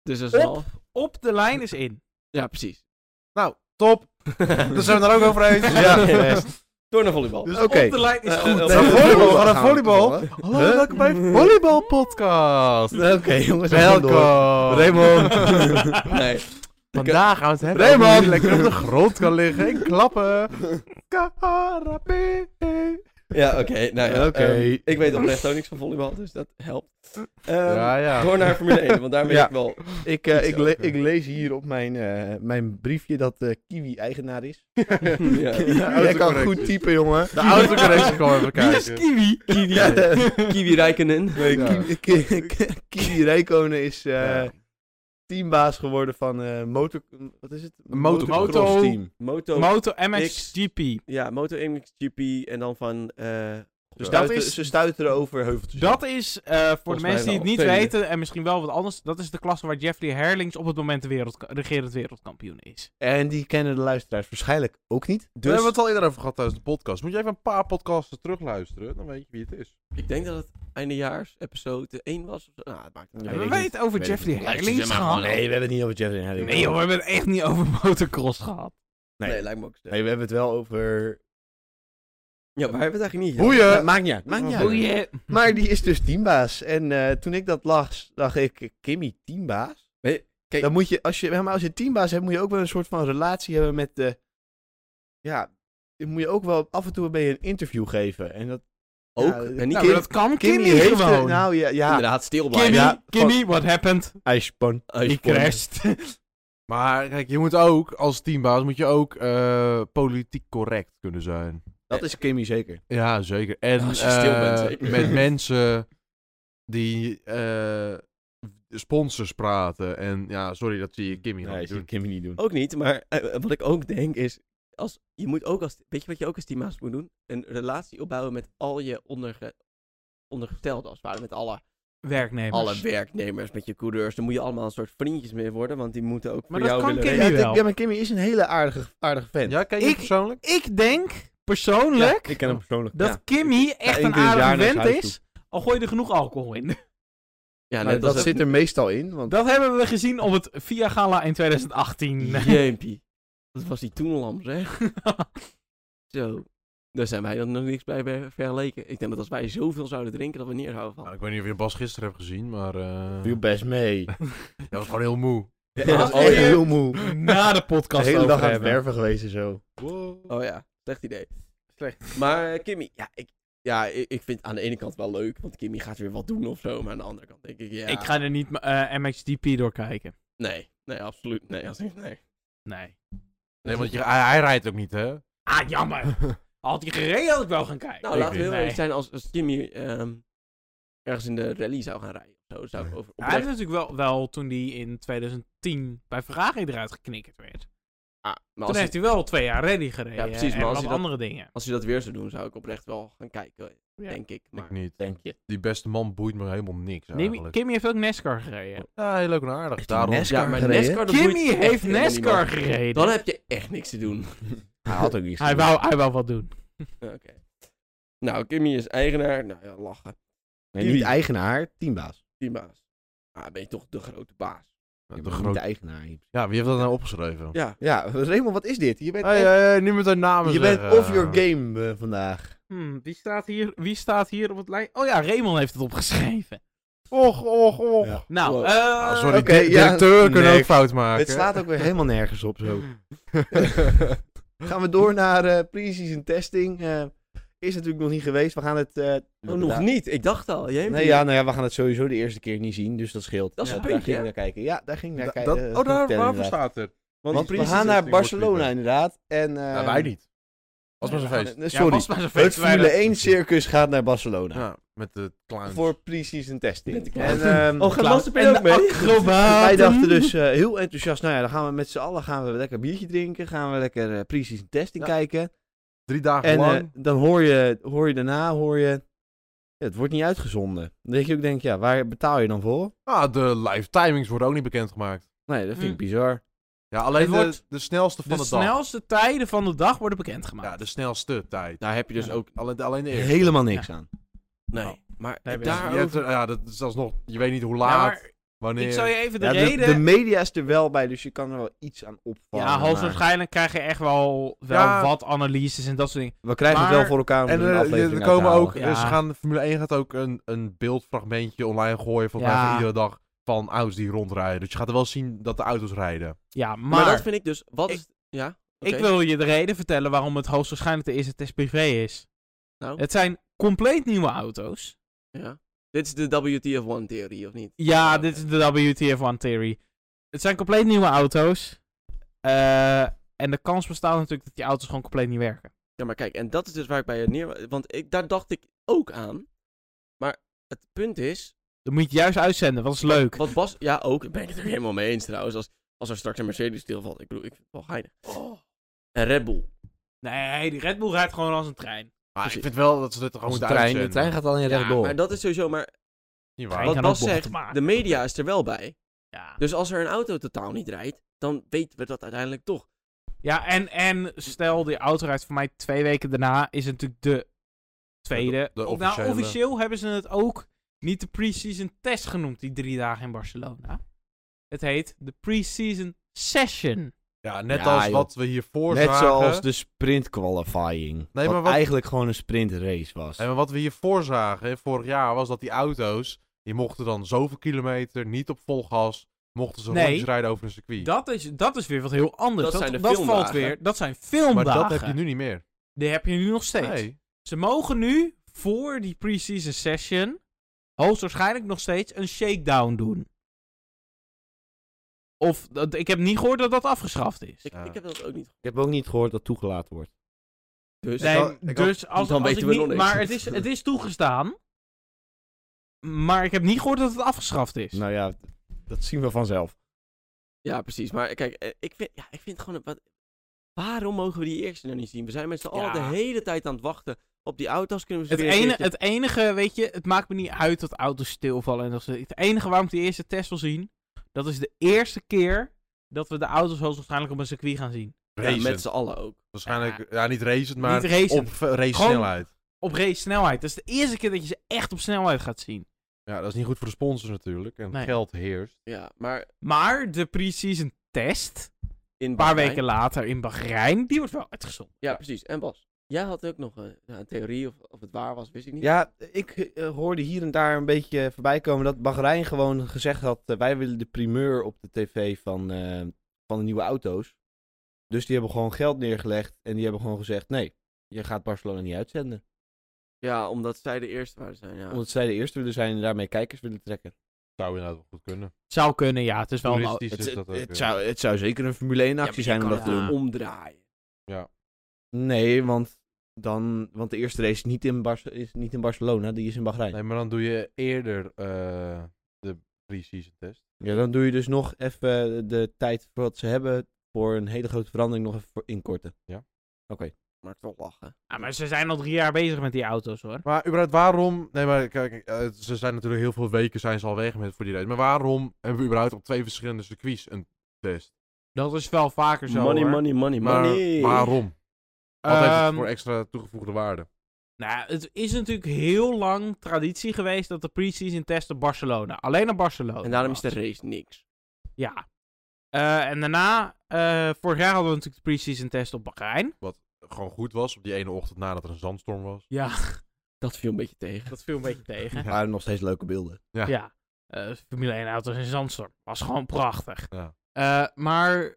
[SPEAKER 2] Dus dat is
[SPEAKER 4] Op.
[SPEAKER 2] wel...
[SPEAKER 4] Op de lijn is in.
[SPEAKER 2] Ja, precies.
[SPEAKER 3] Nou, top. Daar zijn we daar ook over eens.
[SPEAKER 1] Ja, best.
[SPEAKER 2] Door naar volleybal.
[SPEAKER 1] Dus
[SPEAKER 4] Oké.
[SPEAKER 1] oké.
[SPEAKER 4] Op de lijn is
[SPEAKER 1] Eh,
[SPEAKER 4] goed.
[SPEAKER 1] eh,
[SPEAKER 3] Gaan
[SPEAKER 1] eh,
[SPEAKER 3] we volleybal?
[SPEAKER 1] gaan
[SPEAKER 3] Gaan we volleybal?
[SPEAKER 1] doen,
[SPEAKER 3] Hallo,
[SPEAKER 1] Huh?
[SPEAKER 3] welkom bij Volleyball Podcast.
[SPEAKER 1] hoor. Oké, jongens. door.
[SPEAKER 3] Welkom.
[SPEAKER 1] Raymond.
[SPEAKER 2] Ah, Nee.
[SPEAKER 3] Vandaag gaan we het hebben
[SPEAKER 1] Raymond.
[SPEAKER 3] over hoe je lekker op de grond kan liggen en klappen. Karabé.
[SPEAKER 1] Ehm,
[SPEAKER 2] Ja, oké. nou ja,
[SPEAKER 1] Oké.
[SPEAKER 2] ehm, ik weet oprecht ook niks van volleybal, dus dat helpt. Ehm,
[SPEAKER 3] Ja, ja.
[SPEAKER 2] Door naar Formule 1, want daar ben
[SPEAKER 1] Ja.
[SPEAKER 2] ik wel...
[SPEAKER 1] Ik, eh,
[SPEAKER 3] Iets
[SPEAKER 1] ik, le-
[SPEAKER 3] over.
[SPEAKER 1] ik lees hier op mijn, eh, mijn briefje dat eh, Kiwi eigenaar is.
[SPEAKER 2] Ja.
[SPEAKER 1] Jij kan
[SPEAKER 3] autocorrectie.
[SPEAKER 1] goed typen, jongen.
[SPEAKER 3] De autocorrectie kwam even
[SPEAKER 4] Wie is
[SPEAKER 3] kijken.
[SPEAKER 4] Kiwi?
[SPEAKER 1] Kiwi,
[SPEAKER 2] Kiwi Räikkönen.
[SPEAKER 1] Kiwi, Ki- Ki- Kiwi Räikkönen is eh,
[SPEAKER 3] Ja.
[SPEAKER 1] teambaas geworden van eh motor... Wat is het?
[SPEAKER 3] Motor-
[SPEAKER 1] Motocross team.
[SPEAKER 2] Moto...
[SPEAKER 4] Moto MXGP.
[SPEAKER 2] ja, Moto MXGP en dan van... eh,
[SPEAKER 1] Ze stuiteren,
[SPEAKER 4] is-
[SPEAKER 1] ze stuiteren over heuveltjes.
[SPEAKER 4] Dat is, eh, voor de
[SPEAKER 2] mij
[SPEAKER 4] mensen die het
[SPEAKER 2] wel.
[SPEAKER 4] niet
[SPEAKER 2] Tweede.
[SPEAKER 4] weten, en misschien wel wat anders, dat is de klasse waar Jeffrey Herlings op het moment de wereld, regerend wereldkampioen is.
[SPEAKER 1] En die kennen de luisteraars waarschijnlijk ook niet.
[SPEAKER 3] We
[SPEAKER 1] Dus
[SPEAKER 3] hebben het al eerder over gehad tijdens de podcast. Moet je even een paar podcasten terugluisteren, dan weet je wie het is.
[SPEAKER 2] Ik denk dat het eindejaars episode 1 was. of zo. Nou, het maakt niet
[SPEAKER 1] Ja,
[SPEAKER 2] uit.
[SPEAKER 1] weet
[SPEAKER 4] Hebben
[SPEAKER 1] ik
[SPEAKER 4] wij
[SPEAKER 1] niet.
[SPEAKER 4] het over
[SPEAKER 1] Weet ik
[SPEAKER 4] Jeffrey
[SPEAKER 1] niet.
[SPEAKER 4] Herlings gehad?
[SPEAKER 1] Oh, Nee, we hebben het niet over Jeffrey en Harry.
[SPEAKER 4] Nee joh, we hebben het echt niet over motocross gehad.
[SPEAKER 1] Nee.
[SPEAKER 2] Nee, lijkt me ook zo.
[SPEAKER 1] Nee, we hebben het wel over...
[SPEAKER 2] Ja, waar hebben we het eigenlijk niet? ja?
[SPEAKER 3] Boeien!
[SPEAKER 1] Ja, maakt niet uit, maakt niet uit.
[SPEAKER 4] Boeien.
[SPEAKER 1] Maar die is dus teambaas. En eh, toen ik dat las, dacht ik, Kimmy teambaas?
[SPEAKER 2] Nee, kijk-
[SPEAKER 1] Dan moet je, als je, ja, maar als je teambaas hebt, moet je ook wel een soort van relatie hebben met de... Ja, dan moet je ook wel af en toe een beetje een interview geven. En dat...
[SPEAKER 2] Ook?
[SPEAKER 1] Ja,
[SPEAKER 2] en niet
[SPEAKER 4] Nou, maar dat kan Kimmy,
[SPEAKER 1] heeft
[SPEAKER 4] gewoon.
[SPEAKER 1] het- nou ja, ja.
[SPEAKER 2] Inderdaad, stil
[SPEAKER 4] Kimmy,
[SPEAKER 2] blijven.
[SPEAKER 1] ja,
[SPEAKER 4] Kimmy, what happened?
[SPEAKER 1] ijspan.
[SPEAKER 4] Ik crashed.
[SPEAKER 3] Maar kijk, je moet ook, als teambaas, moet je ook eh, politiek correct kunnen zijn.
[SPEAKER 1] Dat is Kimmy zeker.
[SPEAKER 3] Ja, zeker. En
[SPEAKER 2] Als je stil
[SPEAKER 3] eh,
[SPEAKER 2] bent, zeker.
[SPEAKER 3] met mensen die eh, sponsors praten. En ja, sorry, dat zie je Kimmy
[SPEAKER 1] Nee, Oh,
[SPEAKER 3] nee,
[SPEAKER 1] dat
[SPEAKER 3] doen.
[SPEAKER 1] kan Kimmy niet doen.
[SPEAKER 2] Ook niet, maar eh, wat ik ook denk is... Als, je moet ook als, weet je wat je ook als teambaas moet doen? Een relatie opbouwen met al je onderge, ondergestelden. Als het ware, met alle,
[SPEAKER 4] Werknemers.
[SPEAKER 2] alle werknemers, met je coureurs. Dan moet je allemaal een soort vriendjes meer worden, want die moeten ook
[SPEAKER 4] Maar
[SPEAKER 2] voor
[SPEAKER 4] dat
[SPEAKER 2] jou
[SPEAKER 4] kan
[SPEAKER 2] willen...
[SPEAKER 4] Kimmy
[SPEAKER 1] Ja,
[SPEAKER 2] regelen.
[SPEAKER 1] ik denk-
[SPEAKER 4] wel.
[SPEAKER 1] ja, maar Kimmy is een hele aardige, aardige fan.
[SPEAKER 3] Ja, ken je
[SPEAKER 4] Ik-
[SPEAKER 3] persoonlijk?
[SPEAKER 4] Ik denk, persoonlijk,
[SPEAKER 1] ik ken hem persoonlijk.
[SPEAKER 4] dat Kimmy echt
[SPEAKER 1] één
[SPEAKER 4] een
[SPEAKER 1] keer in het jaar naar
[SPEAKER 4] aardige
[SPEAKER 1] zijn
[SPEAKER 4] vent
[SPEAKER 1] huis
[SPEAKER 4] is, al gooi je er genoeg alcohol in.
[SPEAKER 2] Ja,
[SPEAKER 1] Nou,
[SPEAKER 2] net
[SPEAKER 1] dat
[SPEAKER 2] als
[SPEAKER 1] zit er meestal in, want
[SPEAKER 4] Dat hebben we gezien op het Via Gala in 2018.
[SPEAKER 2] Jeempie. Dat was die toen lam, zeg. Zo. Daar zijn wij dan nog niks bij ver- vergeleken. Ik denk dat als wij zoveel zouden drinken, dat we neerhouden van.
[SPEAKER 3] Nou, ik weet niet of je Bas gisteren hebt gezien, maar eh
[SPEAKER 1] viel best mee.
[SPEAKER 3] dat was gewoon heel moe.
[SPEAKER 1] Ja,
[SPEAKER 2] dat
[SPEAKER 1] dat
[SPEAKER 2] is
[SPEAKER 1] is echt
[SPEAKER 4] echt-
[SPEAKER 1] heel moe.
[SPEAKER 4] Na de
[SPEAKER 1] De
[SPEAKER 4] podcast
[SPEAKER 1] hele dag
[SPEAKER 4] over
[SPEAKER 1] aan het
[SPEAKER 4] hebben.
[SPEAKER 1] werven geweest en zo.
[SPEAKER 2] Oh ja, slecht idee.
[SPEAKER 4] Slecht.
[SPEAKER 2] Maar eh, Kimmy, ja, ik, ja ik, ik vind het aan de ene kant wel leuk, want Kimmy gaat weer wat doen of zo. Maar aan de andere kant denk ik, ja.
[SPEAKER 4] Ik ga er niet eh, MXGP door kijken.
[SPEAKER 2] Nee, nee, absoluut. Nee, als ik, nee.
[SPEAKER 4] Nee.
[SPEAKER 3] Nee, want je, hij, hij rijdt ook niet, hè?
[SPEAKER 4] Ah, jammer. Had hij gereden had ik wel gaan kijken.
[SPEAKER 2] Nou,
[SPEAKER 3] Ik
[SPEAKER 2] laten we heel
[SPEAKER 4] Nee.
[SPEAKER 2] eerlijk zijn, als, als Kimmy ehm, ergens in de rally zou gaan rijden of zo, zou ik over.
[SPEAKER 4] Ja, Hij heeft
[SPEAKER 2] oprecht-
[SPEAKER 4] natuurlijk wel, wel toen hij in 2010 bij Ferrari eruit geknikkerd werd.
[SPEAKER 2] Ah, maar
[SPEAKER 4] Toen
[SPEAKER 2] als,
[SPEAKER 4] heeft
[SPEAKER 2] hij,
[SPEAKER 4] hij wel twee jaar rally gereden. eh,
[SPEAKER 2] Ja, precies,
[SPEAKER 4] En
[SPEAKER 2] maar als
[SPEAKER 4] wat
[SPEAKER 2] hij dat-
[SPEAKER 4] andere dingen.
[SPEAKER 2] als hij dat weer zou doen, zou ik oprecht wel gaan kijken, denk ik. Maar
[SPEAKER 3] Ik niet.
[SPEAKER 1] Denk je.
[SPEAKER 3] Die beste man boeit me helemaal niks
[SPEAKER 4] Kimmy,
[SPEAKER 3] eigenlijk.
[SPEAKER 4] Kimmy heeft ook NASCAR gereden.
[SPEAKER 3] Ja, heel leuk en aardig. Daarom...
[SPEAKER 1] Nes-
[SPEAKER 2] Ja,
[SPEAKER 1] NASCAR
[SPEAKER 2] maar
[SPEAKER 1] gereden?
[SPEAKER 2] NASCAR, dat boeit
[SPEAKER 4] Kimmy
[SPEAKER 2] echt
[SPEAKER 4] heeft
[SPEAKER 2] helemaal
[SPEAKER 4] NASCAR
[SPEAKER 2] niemand.
[SPEAKER 4] gereden.
[SPEAKER 2] Dan heb je echt niks te doen.
[SPEAKER 1] Hij had ook iets.
[SPEAKER 4] Hij, wou, hij wou wat doen.
[SPEAKER 2] Oké. Nou, Kimmy is eigenaar. Nou ja, lachen.
[SPEAKER 1] Nee, niet eigenaar, teambaas.
[SPEAKER 2] Teambaas. Ah, ben je toch de grote baas?
[SPEAKER 1] Ja,
[SPEAKER 3] Ja, de
[SPEAKER 1] maar
[SPEAKER 3] groot...
[SPEAKER 1] Niet eigenaar. hier.
[SPEAKER 3] ja, wie heeft dat nou opgeschreven?
[SPEAKER 2] Ja.
[SPEAKER 1] Ja, Raymond, wat is dit? Je bent,
[SPEAKER 3] Hey,
[SPEAKER 1] off,
[SPEAKER 3] hey, hey, nu met haar namen
[SPEAKER 1] je bent
[SPEAKER 3] zeggen.
[SPEAKER 1] off your game eh, vandaag.
[SPEAKER 4] Hmm, wie, staat hier, wie staat hier op het lijst? Oh ja, Raymond heeft het opgeschreven.
[SPEAKER 3] Och, och, och.
[SPEAKER 1] Ja.
[SPEAKER 4] Nou,
[SPEAKER 2] Wow.
[SPEAKER 4] eh,
[SPEAKER 3] Ah, sorry,
[SPEAKER 1] Oké,
[SPEAKER 3] di-
[SPEAKER 1] ja,
[SPEAKER 3] directeur kunnen
[SPEAKER 1] nee.
[SPEAKER 3] ook fout maken.
[SPEAKER 1] Het slaat ook weer helemaal nergens op zo. Gaan we door naar eh pre-season testing. Eh, is natuurlijk nog niet geweest. We gaan het... eh,
[SPEAKER 2] Oh, nog niet. Ik dacht al. Jij
[SPEAKER 1] Nee, ja, nou ja, we gaan het sowieso de eerste keer niet zien, dus dat scheelt.
[SPEAKER 2] Dat is
[SPEAKER 1] Ja,
[SPEAKER 2] een
[SPEAKER 1] daar
[SPEAKER 2] puntje,
[SPEAKER 1] ging ik
[SPEAKER 2] hè?
[SPEAKER 1] naar kijken. Ja, daar ging ik naar
[SPEAKER 3] Dat-
[SPEAKER 1] kijken.
[SPEAKER 3] dat-
[SPEAKER 1] Eh,
[SPEAKER 3] oh, daar,
[SPEAKER 1] vertellen
[SPEAKER 3] waarvoor
[SPEAKER 1] inderdaad.
[SPEAKER 3] staat het?
[SPEAKER 1] Want we
[SPEAKER 3] pre-season
[SPEAKER 1] gaan naar
[SPEAKER 3] testing wordt
[SPEAKER 1] Barcelona
[SPEAKER 3] minder.
[SPEAKER 1] inderdaad. En,
[SPEAKER 3] Ja,
[SPEAKER 1] eh,
[SPEAKER 3] wij niet. Was
[SPEAKER 1] nee,
[SPEAKER 3] maar
[SPEAKER 1] we
[SPEAKER 3] zo'n
[SPEAKER 1] gaan-
[SPEAKER 3] feest.
[SPEAKER 1] nee,
[SPEAKER 4] Ehm, ja,
[SPEAKER 1] Sorry.
[SPEAKER 4] was maar zo'n
[SPEAKER 1] Het
[SPEAKER 4] feest. wij
[SPEAKER 1] Formule
[SPEAKER 4] dat-
[SPEAKER 1] 1 circus gaat naar Barcelona.
[SPEAKER 3] Ja, met de clowns.
[SPEAKER 1] Voor pre-season testing.
[SPEAKER 2] Met de
[SPEAKER 1] en,
[SPEAKER 2] clowns.
[SPEAKER 1] ehm,
[SPEAKER 2] Oh, gaat
[SPEAKER 4] Klaus
[SPEAKER 2] Lasse Pin
[SPEAKER 4] en
[SPEAKER 2] ook mee?
[SPEAKER 4] acrobaten.
[SPEAKER 1] wij dachten dus eh, heel enthousiast, nou ja, dan gaan we met z'n allen gaan we lekker biertje drinken, gaan we lekker eh, pre-season testing
[SPEAKER 3] Ja.
[SPEAKER 1] kijken.
[SPEAKER 3] Drie dagen
[SPEAKER 1] En eh,
[SPEAKER 3] lang.
[SPEAKER 1] dan hoor je, hoor je daarna, hoor je... ja, het wordt niet uitgezonden. Dat je ook denkt, ja, waar betaal je dan voor?
[SPEAKER 3] ah, de live timings worden ook niet bekendgemaakt.
[SPEAKER 1] Nee, dat vind ik
[SPEAKER 4] Hm.
[SPEAKER 1] bizar.
[SPEAKER 3] Ja, alleen
[SPEAKER 4] Het
[SPEAKER 3] de,
[SPEAKER 4] wordt
[SPEAKER 3] de snelste van
[SPEAKER 4] De
[SPEAKER 3] de,
[SPEAKER 4] snelste tijden van de dag worden
[SPEAKER 3] dag. Ja, dus
[SPEAKER 4] bekendgemaakt.
[SPEAKER 3] de snelste tijd.
[SPEAKER 2] Daar heb je dus
[SPEAKER 4] Ja.
[SPEAKER 2] ook...
[SPEAKER 3] Alleen, alleen de eerste.
[SPEAKER 1] Helemaal niks aan.
[SPEAKER 2] Nee,
[SPEAKER 4] Oh.
[SPEAKER 2] maar
[SPEAKER 4] Daar heb je-
[SPEAKER 3] Je hebt
[SPEAKER 2] daarover...
[SPEAKER 3] er- ja, dat is alsnog, je weet niet hoe
[SPEAKER 4] Ja,
[SPEAKER 3] laat,
[SPEAKER 4] maar
[SPEAKER 3] wanneer.
[SPEAKER 4] ik zou je even de
[SPEAKER 1] Ja, de,
[SPEAKER 4] reden...
[SPEAKER 1] de media is er wel bij, dus je kan er wel iets aan opvallen.
[SPEAKER 4] ja,
[SPEAKER 1] maar
[SPEAKER 4] hoogstwaarschijnlijk krijg je echt wel, wel
[SPEAKER 3] Ja.
[SPEAKER 4] wat analyses en dat soort dingen.
[SPEAKER 1] We krijgen het
[SPEAKER 4] maar-
[SPEAKER 1] wel voor elkaar om
[SPEAKER 3] En
[SPEAKER 1] er een
[SPEAKER 3] eh,
[SPEAKER 1] aflevering
[SPEAKER 3] er
[SPEAKER 1] uit te
[SPEAKER 3] komen
[SPEAKER 1] halen.
[SPEAKER 3] ook,
[SPEAKER 4] Ja.
[SPEAKER 3] ze gaan, Formule 1 gaat ook een, een beeldfragmentje online gooien, volgens mij
[SPEAKER 4] Ja.
[SPEAKER 3] van iedere dag, van auto's die rondrijden. Dus je gaat er wel zien dat de auto's rijden.
[SPEAKER 4] Ja, maar,
[SPEAKER 2] Maar, dat vind ik dus... Wat
[SPEAKER 4] Ik-
[SPEAKER 2] is... Ja?
[SPEAKER 4] ik
[SPEAKER 2] oké.
[SPEAKER 4] wil je de reden vertellen waarom het hoogstwaarschijnlijk de eerste test privé is.
[SPEAKER 2] Nou?
[SPEAKER 4] Het zijn compleet nieuwe auto's.
[SPEAKER 2] Ja. Dit is de WTF1-theorie, of niet?
[SPEAKER 4] Ja,
[SPEAKER 2] Oké.
[SPEAKER 4] dit is de WTF1 theory. Het zijn compleet nieuwe auto's. Eh, en de kans bestaat natuurlijk dat die auto's gewoon compleet niet werken.
[SPEAKER 2] Ja, maar kijk, en dat is dus waar ik bij het neer... Want ik, daar dacht ik ook aan. Maar het punt is...
[SPEAKER 4] Dan moet je het juist uitzenden, wat is leuk.
[SPEAKER 2] Wat Bas... Ja, ook. Daar ben ik het ook helemaal mee eens trouwens. Als, als er straks een Mercedes stilvalt. Ik bedoel, ik vind het wel geinig. En Red Bull.
[SPEAKER 4] Nee, die Red Bull rijdt gewoon als een trein.
[SPEAKER 3] Maar ik
[SPEAKER 2] Precies.
[SPEAKER 3] vind wel dat ze dit gewoon
[SPEAKER 1] Dus Als
[SPEAKER 3] moeten
[SPEAKER 1] de trein, de
[SPEAKER 3] uitzenden.
[SPEAKER 1] trein gaat alleen
[SPEAKER 4] Ja,
[SPEAKER 1] rechtdoor.
[SPEAKER 2] Maar dat is sowieso... Maar
[SPEAKER 4] Trein
[SPEAKER 3] Niet waar.
[SPEAKER 2] wat
[SPEAKER 4] kan
[SPEAKER 2] Bas
[SPEAKER 4] ook bochten
[SPEAKER 2] zegt,
[SPEAKER 4] maken.
[SPEAKER 2] de media is er wel bij.
[SPEAKER 4] Ja,
[SPEAKER 2] Dus als er een auto totaal niet rijdt, dan weten we dat uiteindelijk toch.
[SPEAKER 4] ja en, en stel die auto rijdt voor mij twee weken daarna, is het natuurlijk de tweede.
[SPEAKER 3] De- de
[SPEAKER 4] Of
[SPEAKER 3] officiële.
[SPEAKER 4] Nou, officieel hebben ze het ook niet de pre-season test genoemd, die drie dagen in Barcelona. Het heet de pre-season session.
[SPEAKER 3] Ja, net
[SPEAKER 1] Ja,
[SPEAKER 3] als
[SPEAKER 1] joh.
[SPEAKER 3] wat we hiervoor
[SPEAKER 1] Net
[SPEAKER 3] zagen.
[SPEAKER 1] zoals dus- de sprint qualifying.
[SPEAKER 3] maar
[SPEAKER 1] wat,
[SPEAKER 3] wat-
[SPEAKER 1] eigenlijk gewoon een sprintrace was.
[SPEAKER 3] En wat we hiervoor zagen hè, vorig jaar was dat die auto's, die mochten dan zoveel kilometer, niet op vol gas, mochten ze
[SPEAKER 4] Nee.
[SPEAKER 3] rondjes rijden over een circuit.
[SPEAKER 4] Dat is, dat is weer wat heel anders.
[SPEAKER 2] Dat
[SPEAKER 4] Dat,
[SPEAKER 2] zijn de
[SPEAKER 4] dat valt
[SPEAKER 2] filmdagen.
[SPEAKER 4] weer. Dat zijn
[SPEAKER 3] maar
[SPEAKER 4] filmdagen.
[SPEAKER 3] dat heb je nu niet meer.
[SPEAKER 4] Die heb je nu nog steeds.
[SPEAKER 3] Nee.
[SPEAKER 4] Ze mogen nu voor die pre-season session hoogstwaarschijnlijk nog steeds een shakedown doen. Of dat- ik heb niet gehoord dat dat afgeschaft is.
[SPEAKER 2] Ik,
[SPEAKER 3] Ja.
[SPEAKER 2] ik heb dat ook niet.
[SPEAKER 1] Ik heb ook niet gehoord dat toegelaten wordt.
[SPEAKER 2] Dus
[SPEAKER 4] nee,
[SPEAKER 3] had- ik had-
[SPEAKER 4] dus als,
[SPEAKER 2] dan
[SPEAKER 4] als
[SPEAKER 2] weten
[SPEAKER 4] ik
[SPEAKER 2] we
[SPEAKER 4] niet,
[SPEAKER 2] nog niks.
[SPEAKER 4] Maar het is, het is toegestaan. Maar ik heb niet gehoord dat het afgeschaft is.
[SPEAKER 1] Nou ja, dat zien we vanzelf.
[SPEAKER 2] ja, precies. Maar kijk, eh, ik vind, ja, ik vind gewoon... Wat, waarom mogen we die eerste nou niet zien? We zijn met z'n allen de
[SPEAKER 4] Ja.
[SPEAKER 2] hele tijd aan het wachten op die auto's. Kunnen we ze
[SPEAKER 4] Het,
[SPEAKER 2] Dus weer een
[SPEAKER 4] ene,
[SPEAKER 2] keertje-
[SPEAKER 4] het enige, weet je, het maakt me niet uit dat auto's stilvallen. En dat ze, het enige waarom ik de eerste test wil zien, dat is de eerste keer dat we de auto's hoogstwaarschijnlijk op een circuit gaan zien.
[SPEAKER 2] Ja,
[SPEAKER 3] Racen.
[SPEAKER 2] met z'n allen ook.
[SPEAKER 3] Waarschijnlijk, ja, niet racend, maar
[SPEAKER 4] niet racen,
[SPEAKER 3] op eh, race snelheid.
[SPEAKER 4] op race snelheid. Dat is de eerste keer dat je ze echt op snelheid gaat zien.
[SPEAKER 3] Ja, dat is niet goed voor de sponsors natuurlijk. En
[SPEAKER 4] Nee.
[SPEAKER 3] geld heerst.
[SPEAKER 2] Ja, maar
[SPEAKER 4] Maar de pre-season test,
[SPEAKER 2] in
[SPEAKER 4] een paar
[SPEAKER 2] Bahrein-
[SPEAKER 4] weken later in Bahrein, die wordt wel uitgezonden.
[SPEAKER 2] Ja, precies. En Bas, jij had ook nog een, ja, een theorie of, of het waar was, wist ik niet.
[SPEAKER 1] Ja, ik eh, hoorde hier en daar een beetje voorbij komen dat Bahrein gewoon gezegd had... eh, wij willen de primeur op de tv van, eh, van de nieuwe auto's. Dus die hebben gewoon geld neergelegd en die hebben gewoon gezegd... nee, je gaat Barcelona niet uitzenden.
[SPEAKER 2] Ja, omdat zij de eerste waren zijn, ja.
[SPEAKER 1] Omdat zij de eerste willen zijn en daarmee kijkers willen trekken.
[SPEAKER 3] Zou inderdaad wel goed kunnen.
[SPEAKER 4] Zou kunnen, ja. Het is wel een...
[SPEAKER 3] Toeristisch
[SPEAKER 1] Het, eh,
[SPEAKER 3] is dus dat ook,
[SPEAKER 1] het
[SPEAKER 3] ja.
[SPEAKER 1] zou, het zou zeker een Formule 1-actie zijn om
[SPEAKER 2] kan
[SPEAKER 1] dat
[SPEAKER 2] het
[SPEAKER 1] te
[SPEAKER 4] ja.
[SPEAKER 1] doen.
[SPEAKER 2] ook omdraaien.
[SPEAKER 1] Nee, want, dan, want de eerste race is niet in, Barce- is niet in Barcelona, die is in Bahrein.
[SPEAKER 3] Nee, maar dan doe je eerder eh, de pre-season test.
[SPEAKER 1] Ja, dan doe je dus nog even de tijd wat ze hebben voor een hele grote verandering nog even voor inkorten.
[SPEAKER 2] Maar toch lachen.
[SPEAKER 4] Ja, Ah, maar ze zijn al drie jaar bezig met die auto's, hoor.
[SPEAKER 3] Maar überhaupt waarom... Nee, maar kijk, eh, ze zijn natuurlijk heel veel weken zijn ze al weg met voor die race. Maar waarom hebben we überhaupt op twee verschillende circuits een test?
[SPEAKER 4] Dat is wel vaker zo,
[SPEAKER 2] money,
[SPEAKER 4] hoor.
[SPEAKER 2] money, money,
[SPEAKER 3] Maar
[SPEAKER 2] money.
[SPEAKER 3] waarom? Wat heeft het
[SPEAKER 4] Ehm,
[SPEAKER 3] voor extra toegevoegde waarde?
[SPEAKER 4] Nou, het is natuurlijk heel lang traditie geweest dat de pre-season test op Barcelona. Alleen op Barcelona.
[SPEAKER 2] En daarom is
[SPEAKER 4] was.
[SPEAKER 2] de race niks.
[SPEAKER 4] Ja. Eh, en daarna, eh, vorig jaar hadden we natuurlijk de pre-season test op Bahrein.
[SPEAKER 3] Gewoon goed was op die ene ochtend nadat er een zandstorm was.
[SPEAKER 4] Ja,
[SPEAKER 2] Dat viel een beetje tegen.
[SPEAKER 4] dat viel een beetje tegen.
[SPEAKER 1] Maar nog steeds leuke beelden.
[SPEAKER 3] Ja.
[SPEAKER 4] Ja. Eh, Formule 1 auto's in Zandstorm. Was gewoon prachtig.
[SPEAKER 3] Ja.
[SPEAKER 4] Eh, maar eh,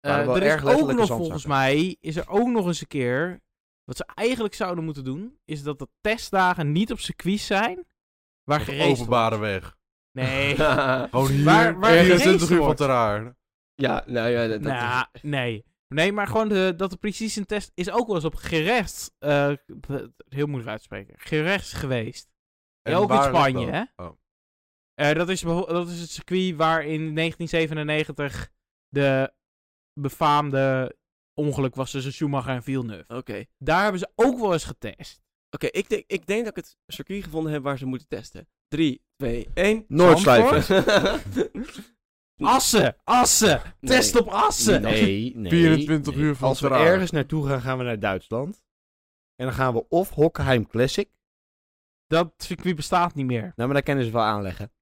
[SPEAKER 1] Waren wel
[SPEAKER 4] er
[SPEAKER 1] erg
[SPEAKER 4] is ook
[SPEAKER 1] letterlijke
[SPEAKER 4] nog
[SPEAKER 1] zandzakken.
[SPEAKER 4] volgens mij, is er ook nog eens een keer, wat ze eigenlijk zouden moeten doen, is dat de testdagen niet op circuit zijn, waar
[SPEAKER 3] Op de
[SPEAKER 4] gereden
[SPEAKER 3] openbare weg.
[SPEAKER 4] Nee.
[SPEAKER 3] Gewoon hier,
[SPEAKER 4] Waar- waar
[SPEAKER 3] 24
[SPEAKER 4] geraced
[SPEAKER 3] uur van
[SPEAKER 4] wordt.
[SPEAKER 3] te raar.
[SPEAKER 2] ja, nou ja, dat, dat
[SPEAKER 4] Nou,
[SPEAKER 2] is...
[SPEAKER 4] nee. Nee, maar gewoon de, dat de precision test is ook wel eens op gerecht, eh, b- heel moeilijk uitspreken, gerecht geweest.
[SPEAKER 3] En
[SPEAKER 4] ook in
[SPEAKER 3] waar ligt
[SPEAKER 4] Spanje,
[SPEAKER 3] dat?
[SPEAKER 4] hè?
[SPEAKER 3] Oh.
[SPEAKER 4] Eh, dat, is, beho- dat is het circuit waar in 1997 de befaamde ongeluk was tussen Schumacher en Villeneuve.
[SPEAKER 2] Oké.
[SPEAKER 4] Daar hebben ze ook wel eens getest.
[SPEAKER 2] Oké, ik, denk, ik denk dat ik het circuit gevonden heb waar ze moeten testen. 3, 2, 1.
[SPEAKER 1] Noordslijpen.
[SPEAKER 4] Assen! Assen! Test op assen!
[SPEAKER 1] Nee, nee.
[SPEAKER 3] 24 uur van
[SPEAKER 1] Als we
[SPEAKER 3] Ferrari.
[SPEAKER 1] ergens naartoe gaan, gaan we naar Duitsland. En dan gaan we of Hockenheim Classic.
[SPEAKER 4] Dat circuit bestaat niet meer.
[SPEAKER 1] Nou, maar daar kennen ze wel aanleggen.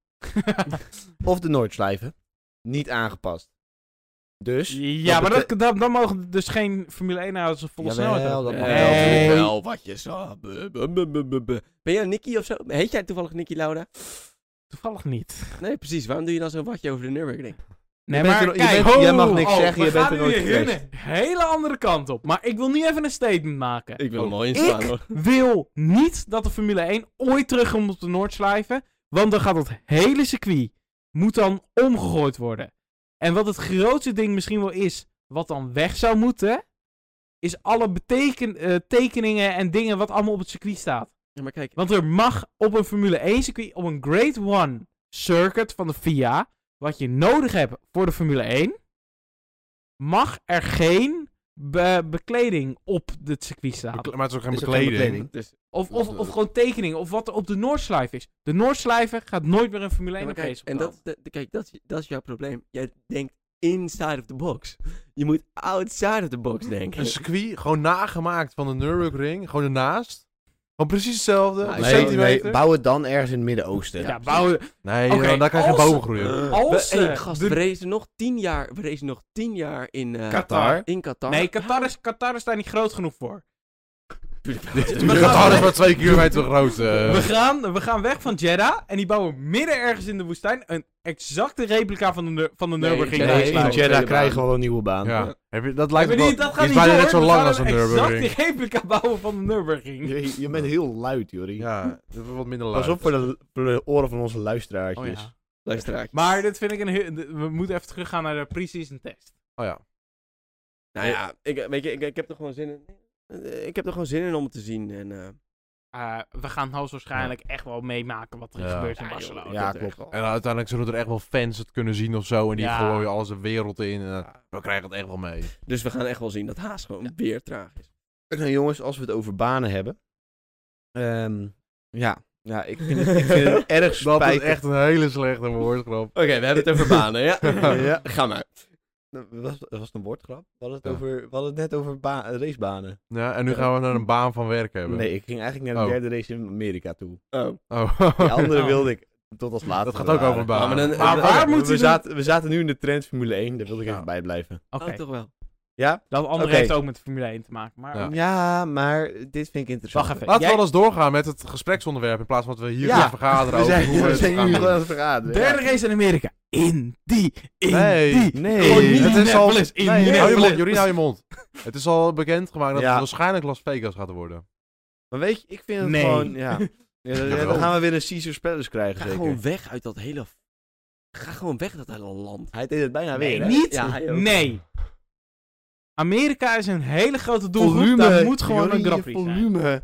[SPEAKER 1] Of de Noordslijven. Niet aangepast. Dus.
[SPEAKER 4] ja, maar
[SPEAKER 1] bete-
[SPEAKER 4] dat, dan, dan mogen dus geen Formule 1-auto's op volle
[SPEAKER 1] Jawel,
[SPEAKER 4] snelheid.
[SPEAKER 1] dat
[SPEAKER 4] rijden.
[SPEAKER 1] mag
[SPEAKER 4] Nee.
[SPEAKER 1] wel.
[SPEAKER 4] Nee.
[SPEAKER 2] Eh, wel wat je zo. bu- bu- bu- bu- bu- bu. Ben jij Nicky of zo? Heet jij toevallig Nicky Lauda?
[SPEAKER 4] Toevallig niet.
[SPEAKER 2] Nee, precies. Waarom doe je dan zo'n watje over de Nürburgring?
[SPEAKER 4] Nee,
[SPEAKER 1] bent er- je bent- jij mag niks zeggen,
[SPEAKER 4] we
[SPEAKER 1] je bent
[SPEAKER 4] gaan
[SPEAKER 1] er
[SPEAKER 4] nu
[SPEAKER 1] nooit
[SPEAKER 4] weer
[SPEAKER 1] geweest.
[SPEAKER 4] een Hele andere kant op. Maar ik wil nu even een statement maken.
[SPEAKER 2] Ik wil
[SPEAKER 1] hem
[SPEAKER 2] mooi
[SPEAKER 4] inslaan, Ik?
[SPEAKER 2] hoor.
[SPEAKER 4] wil niet dat de Formule 1 ooit terugkomt op de Noordslijven. Want dan gaat dat hele circuit moet dan omgegooid worden. En wat het grootste ding misschien wel is, wat dan weg zou moeten, is alle beteken, eh, tekeningen en dingen wat allemaal op het circuit staat.
[SPEAKER 2] Ja, maar kijk.
[SPEAKER 4] Want er mag op een Formule 1 circuit, op een Grade 1 circuit van de FIA, wat je nodig hebt voor de Formule 1, mag er geen be- bekleding op het circuit staan.
[SPEAKER 3] Bekle- Maar het is ook geen
[SPEAKER 1] Is ook geen
[SPEAKER 3] bekleding.
[SPEAKER 1] bekleding.
[SPEAKER 2] Dus,
[SPEAKER 4] Of, of, of gewoon tekeningen, of wat er op de Noordslijf is. De Noordslijven gaat nooit meer een
[SPEAKER 2] ja,
[SPEAKER 4] Formule 1
[SPEAKER 2] maar kijk,
[SPEAKER 4] race
[SPEAKER 2] en dat, dat, kijk dat, is- dat is jouw probleem. Jij denkt inside of the box. Je moet outside of the box denken.
[SPEAKER 3] Een circuit, gewoon nagemaakt van de Nürburgring, gewoon ernaast. Gewoon precies hetzelfde, op een
[SPEAKER 1] Nee,
[SPEAKER 3] centimeter.
[SPEAKER 1] nee, bouw het dan ergens in het Midden-Oosten.
[SPEAKER 4] Ja, bouwen.
[SPEAKER 3] Nee,
[SPEAKER 4] Oké,
[SPEAKER 3] joh, daar kan je geen
[SPEAKER 4] als-
[SPEAKER 3] bomen groeien.
[SPEAKER 4] Als
[SPEAKER 2] we, hey,
[SPEAKER 4] ze
[SPEAKER 2] gast,
[SPEAKER 4] de-
[SPEAKER 2] we racen nog tien jaar, we racen nog tien jaar in, eh,
[SPEAKER 1] Qatar.
[SPEAKER 2] in Qatar.
[SPEAKER 4] Nee, Qatar is, Qatar is daar niet groot genoeg voor.
[SPEAKER 3] Je
[SPEAKER 4] We
[SPEAKER 3] gaat
[SPEAKER 4] gaan-
[SPEAKER 3] hard maar twee kilometer groot. eh.
[SPEAKER 4] We, gaan, we gaan weg van Jeddah en die bouwen midden ergens in de woestijn een exacte replica van de, Nür- van de
[SPEAKER 2] Nee,
[SPEAKER 4] Nürburgring.
[SPEAKER 2] Jeddah is
[SPEAKER 1] Nee,
[SPEAKER 4] race.
[SPEAKER 1] in
[SPEAKER 2] Tweede
[SPEAKER 1] Jeddah
[SPEAKER 2] baan.
[SPEAKER 1] krijgen we wel een nieuwe baan.
[SPEAKER 3] ja. Heb je, dat lijkt
[SPEAKER 4] Maar
[SPEAKER 3] me wel-
[SPEAKER 4] die- dat
[SPEAKER 3] die
[SPEAKER 4] gaat
[SPEAKER 3] is
[SPEAKER 4] niet
[SPEAKER 3] bijna
[SPEAKER 4] door.
[SPEAKER 3] net zo
[SPEAKER 4] We
[SPEAKER 3] lang
[SPEAKER 4] gaan
[SPEAKER 3] als een
[SPEAKER 4] een
[SPEAKER 3] Nürburgring.
[SPEAKER 4] exacte replica bouwen van de Nürburgring.
[SPEAKER 1] Je, je bent heel luid, Jori.
[SPEAKER 3] Ja, dat wordt minder
[SPEAKER 1] Pas
[SPEAKER 3] luid.
[SPEAKER 1] op voor de, voor de oren van onze luisteraartjes.
[SPEAKER 2] Luisteraar.
[SPEAKER 4] Maar dit vind ik een heel- de- We moeten even teruggaan naar de pre-season test.
[SPEAKER 3] Oh ja.
[SPEAKER 2] Nou ja, ik, weet je, ik, ik heb er gewoon zin in. Eh, Ik heb er gewoon zin in om het te zien. En, eh,
[SPEAKER 4] Eh, we gaan hoogstwaarschijnlijk echt wel meemaken wat er
[SPEAKER 3] Ja.
[SPEAKER 4] gebeurt in
[SPEAKER 2] Ja, joh,
[SPEAKER 4] Barcelona.
[SPEAKER 1] Ja,
[SPEAKER 2] dat
[SPEAKER 1] klopt.
[SPEAKER 2] echt wel.
[SPEAKER 3] En uiteindelijk zullen er echt wel fans het kunnen zien of zo. En die
[SPEAKER 4] Ja.
[SPEAKER 3] gooien alles de wereld in. en, eh, we krijgen het echt wel mee.
[SPEAKER 2] Dus we gaan echt wel zien dat Haas gewoon weer traag is.
[SPEAKER 1] Nou jongens, als we het over banen hebben. Ehm, ja. ja, ik vind het, ik vind het erg
[SPEAKER 3] Dat
[SPEAKER 1] spijtig.
[SPEAKER 3] is echt een hele slechte woordgrap.
[SPEAKER 2] Oké, we hebben het over banen, ja?
[SPEAKER 1] Ja. Nou,
[SPEAKER 2] Ga maar.
[SPEAKER 1] Was, was het een woordgrap? We hadden het,
[SPEAKER 3] Ja.
[SPEAKER 1] over, we hadden het net over ba- racebanen.
[SPEAKER 3] Ja, en nu gaan we naar een baan van werk hebben.
[SPEAKER 1] Nee, ik ging eigenlijk naar de
[SPEAKER 3] Oh.
[SPEAKER 1] derde race in Amerika toe.
[SPEAKER 2] Oh.
[SPEAKER 3] Oh.
[SPEAKER 1] De andere
[SPEAKER 4] Oh.
[SPEAKER 1] wilde ik tot als laatste.
[SPEAKER 3] dat gaat ook
[SPEAKER 1] bewaren.
[SPEAKER 3] over
[SPEAKER 2] Ja,
[SPEAKER 3] baan.
[SPEAKER 2] maar dan-
[SPEAKER 4] Maar
[SPEAKER 1] We-
[SPEAKER 4] waar
[SPEAKER 1] we-
[SPEAKER 4] moeten
[SPEAKER 1] we,
[SPEAKER 4] we-
[SPEAKER 1] zaten, we zaten nu in de trend Formule 1, daar wilde ik
[SPEAKER 3] Ja.
[SPEAKER 1] even bij blijven.
[SPEAKER 4] Oké,
[SPEAKER 2] Oh, toch wel.
[SPEAKER 1] Ja?
[SPEAKER 4] dat andere
[SPEAKER 1] Oké.
[SPEAKER 4] heeft ook met Formule 1 te maken. Maar
[SPEAKER 3] Ja.
[SPEAKER 1] ja? maar dit vind ik interessant.
[SPEAKER 4] wacht even.
[SPEAKER 3] Laten
[SPEAKER 4] Jij-
[SPEAKER 3] we wel eens doorgaan met het gespreksonderwerp. In plaats van dat we hier
[SPEAKER 1] Ja,
[SPEAKER 3] gaan vergaderen
[SPEAKER 1] We
[SPEAKER 3] over
[SPEAKER 1] zijn,
[SPEAKER 3] hoe we
[SPEAKER 1] we
[SPEAKER 3] het
[SPEAKER 1] zijn eh,
[SPEAKER 3] gaan
[SPEAKER 1] nu
[SPEAKER 3] doen.
[SPEAKER 1] gewoon aan het vergaderen.
[SPEAKER 4] Derde race in Amerika. In die. In
[SPEAKER 3] Nee,
[SPEAKER 4] die.
[SPEAKER 1] Nee.
[SPEAKER 4] Oh, niet
[SPEAKER 3] het is al...
[SPEAKER 4] Indianapolis,
[SPEAKER 3] Nee, hou je
[SPEAKER 4] Indianapolis.
[SPEAKER 3] mond, Jorien, hou je mond. Het is al bekendgemaakt dat
[SPEAKER 1] Ja.
[SPEAKER 3] het waarschijnlijk Las Vegas gaat worden.
[SPEAKER 1] Maar weet je, ik vind het
[SPEAKER 4] Nee.
[SPEAKER 1] gewoon... Ja. Ja, dan,
[SPEAKER 3] Jawel.
[SPEAKER 1] dan gaan we weer een Caesar's Palace krijgen,
[SPEAKER 2] Ga
[SPEAKER 1] zeker.
[SPEAKER 2] gewoon weg uit dat hele... Ga gewoon weg uit dat hele land.
[SPEAKER 1] Hij deed het bijna
[SPEAKER 4] Nee,
[SPEAKER 1] weer, hè?
[SPEAKER 4] niet.
[SPEAKER 2] Ja, hij ook.
[SPEAKER 4] nee. Amerika is een hele grote doelgroep. Daar moet gewoon
[SPEAKER 1] Jorien,
[SPEAKER 4] een Grand Prix zijn.
[SPEAKER 1] volume.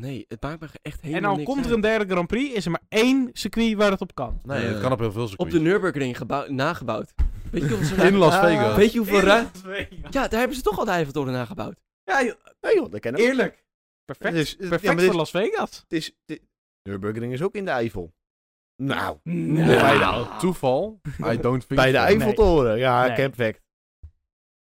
[SPEAKER 2] Nee, het maakt me echt helemaal
[SPEAKER 4] En dan
[SPEAKER 2] niks
[SPEAKER 4] komt er
[SPEAKER 2] uit.
[SPEAKER 4] een derde Grand Prix. Is er maar één circuit waar het op kan.
[SPEAKER 3] Nee,
[SPEAKER 2] Eh,
[SPEAKER 3] het kan op heel veel
[SPEAKER 2] Op
[SPEAKER 3] circuits.
[SPEAKER 2] de Nürburgring gebouw- nagebouwd. Weet je hoeveel
[SPEAKER 3] In Las Vegas.
[SPEAKER 1] Ah.
[SPEAKER 2] Weet je hoeveel ruimte...
[SPEAKER 4] Ja,
[SPEAKER 2] Ja, daar hebben ze toch al de Eiffeltoren nagebouwd.
[SPEAKER 4] joh,
[SPEAKER 1] Nee joh, dat kennen we.
[SPEAKER 4] eerlijk. Perfect,
[SPEAKER 1] Het is- het-
[SPEAKER 4] perfect
[SPEAKER 1] ja, maar dit-
[SPEAKER 4] voor Las Vegas.
[SPEAKER 1] Het is... dit- Nürburgring is ook in de Eifel. Nou,
[SPEAKER 3] Bij
[SPEAKER 1] Nou.
[SPEAKER 3] de toeval, I don't think
[SPEAKER 1] bij de
[SPEAKER 3] so.
[SPEAKER 1] Eiffeltoren. Ja,
[SPEAKER 4] Nee.
[SPEAKER 1] campfact.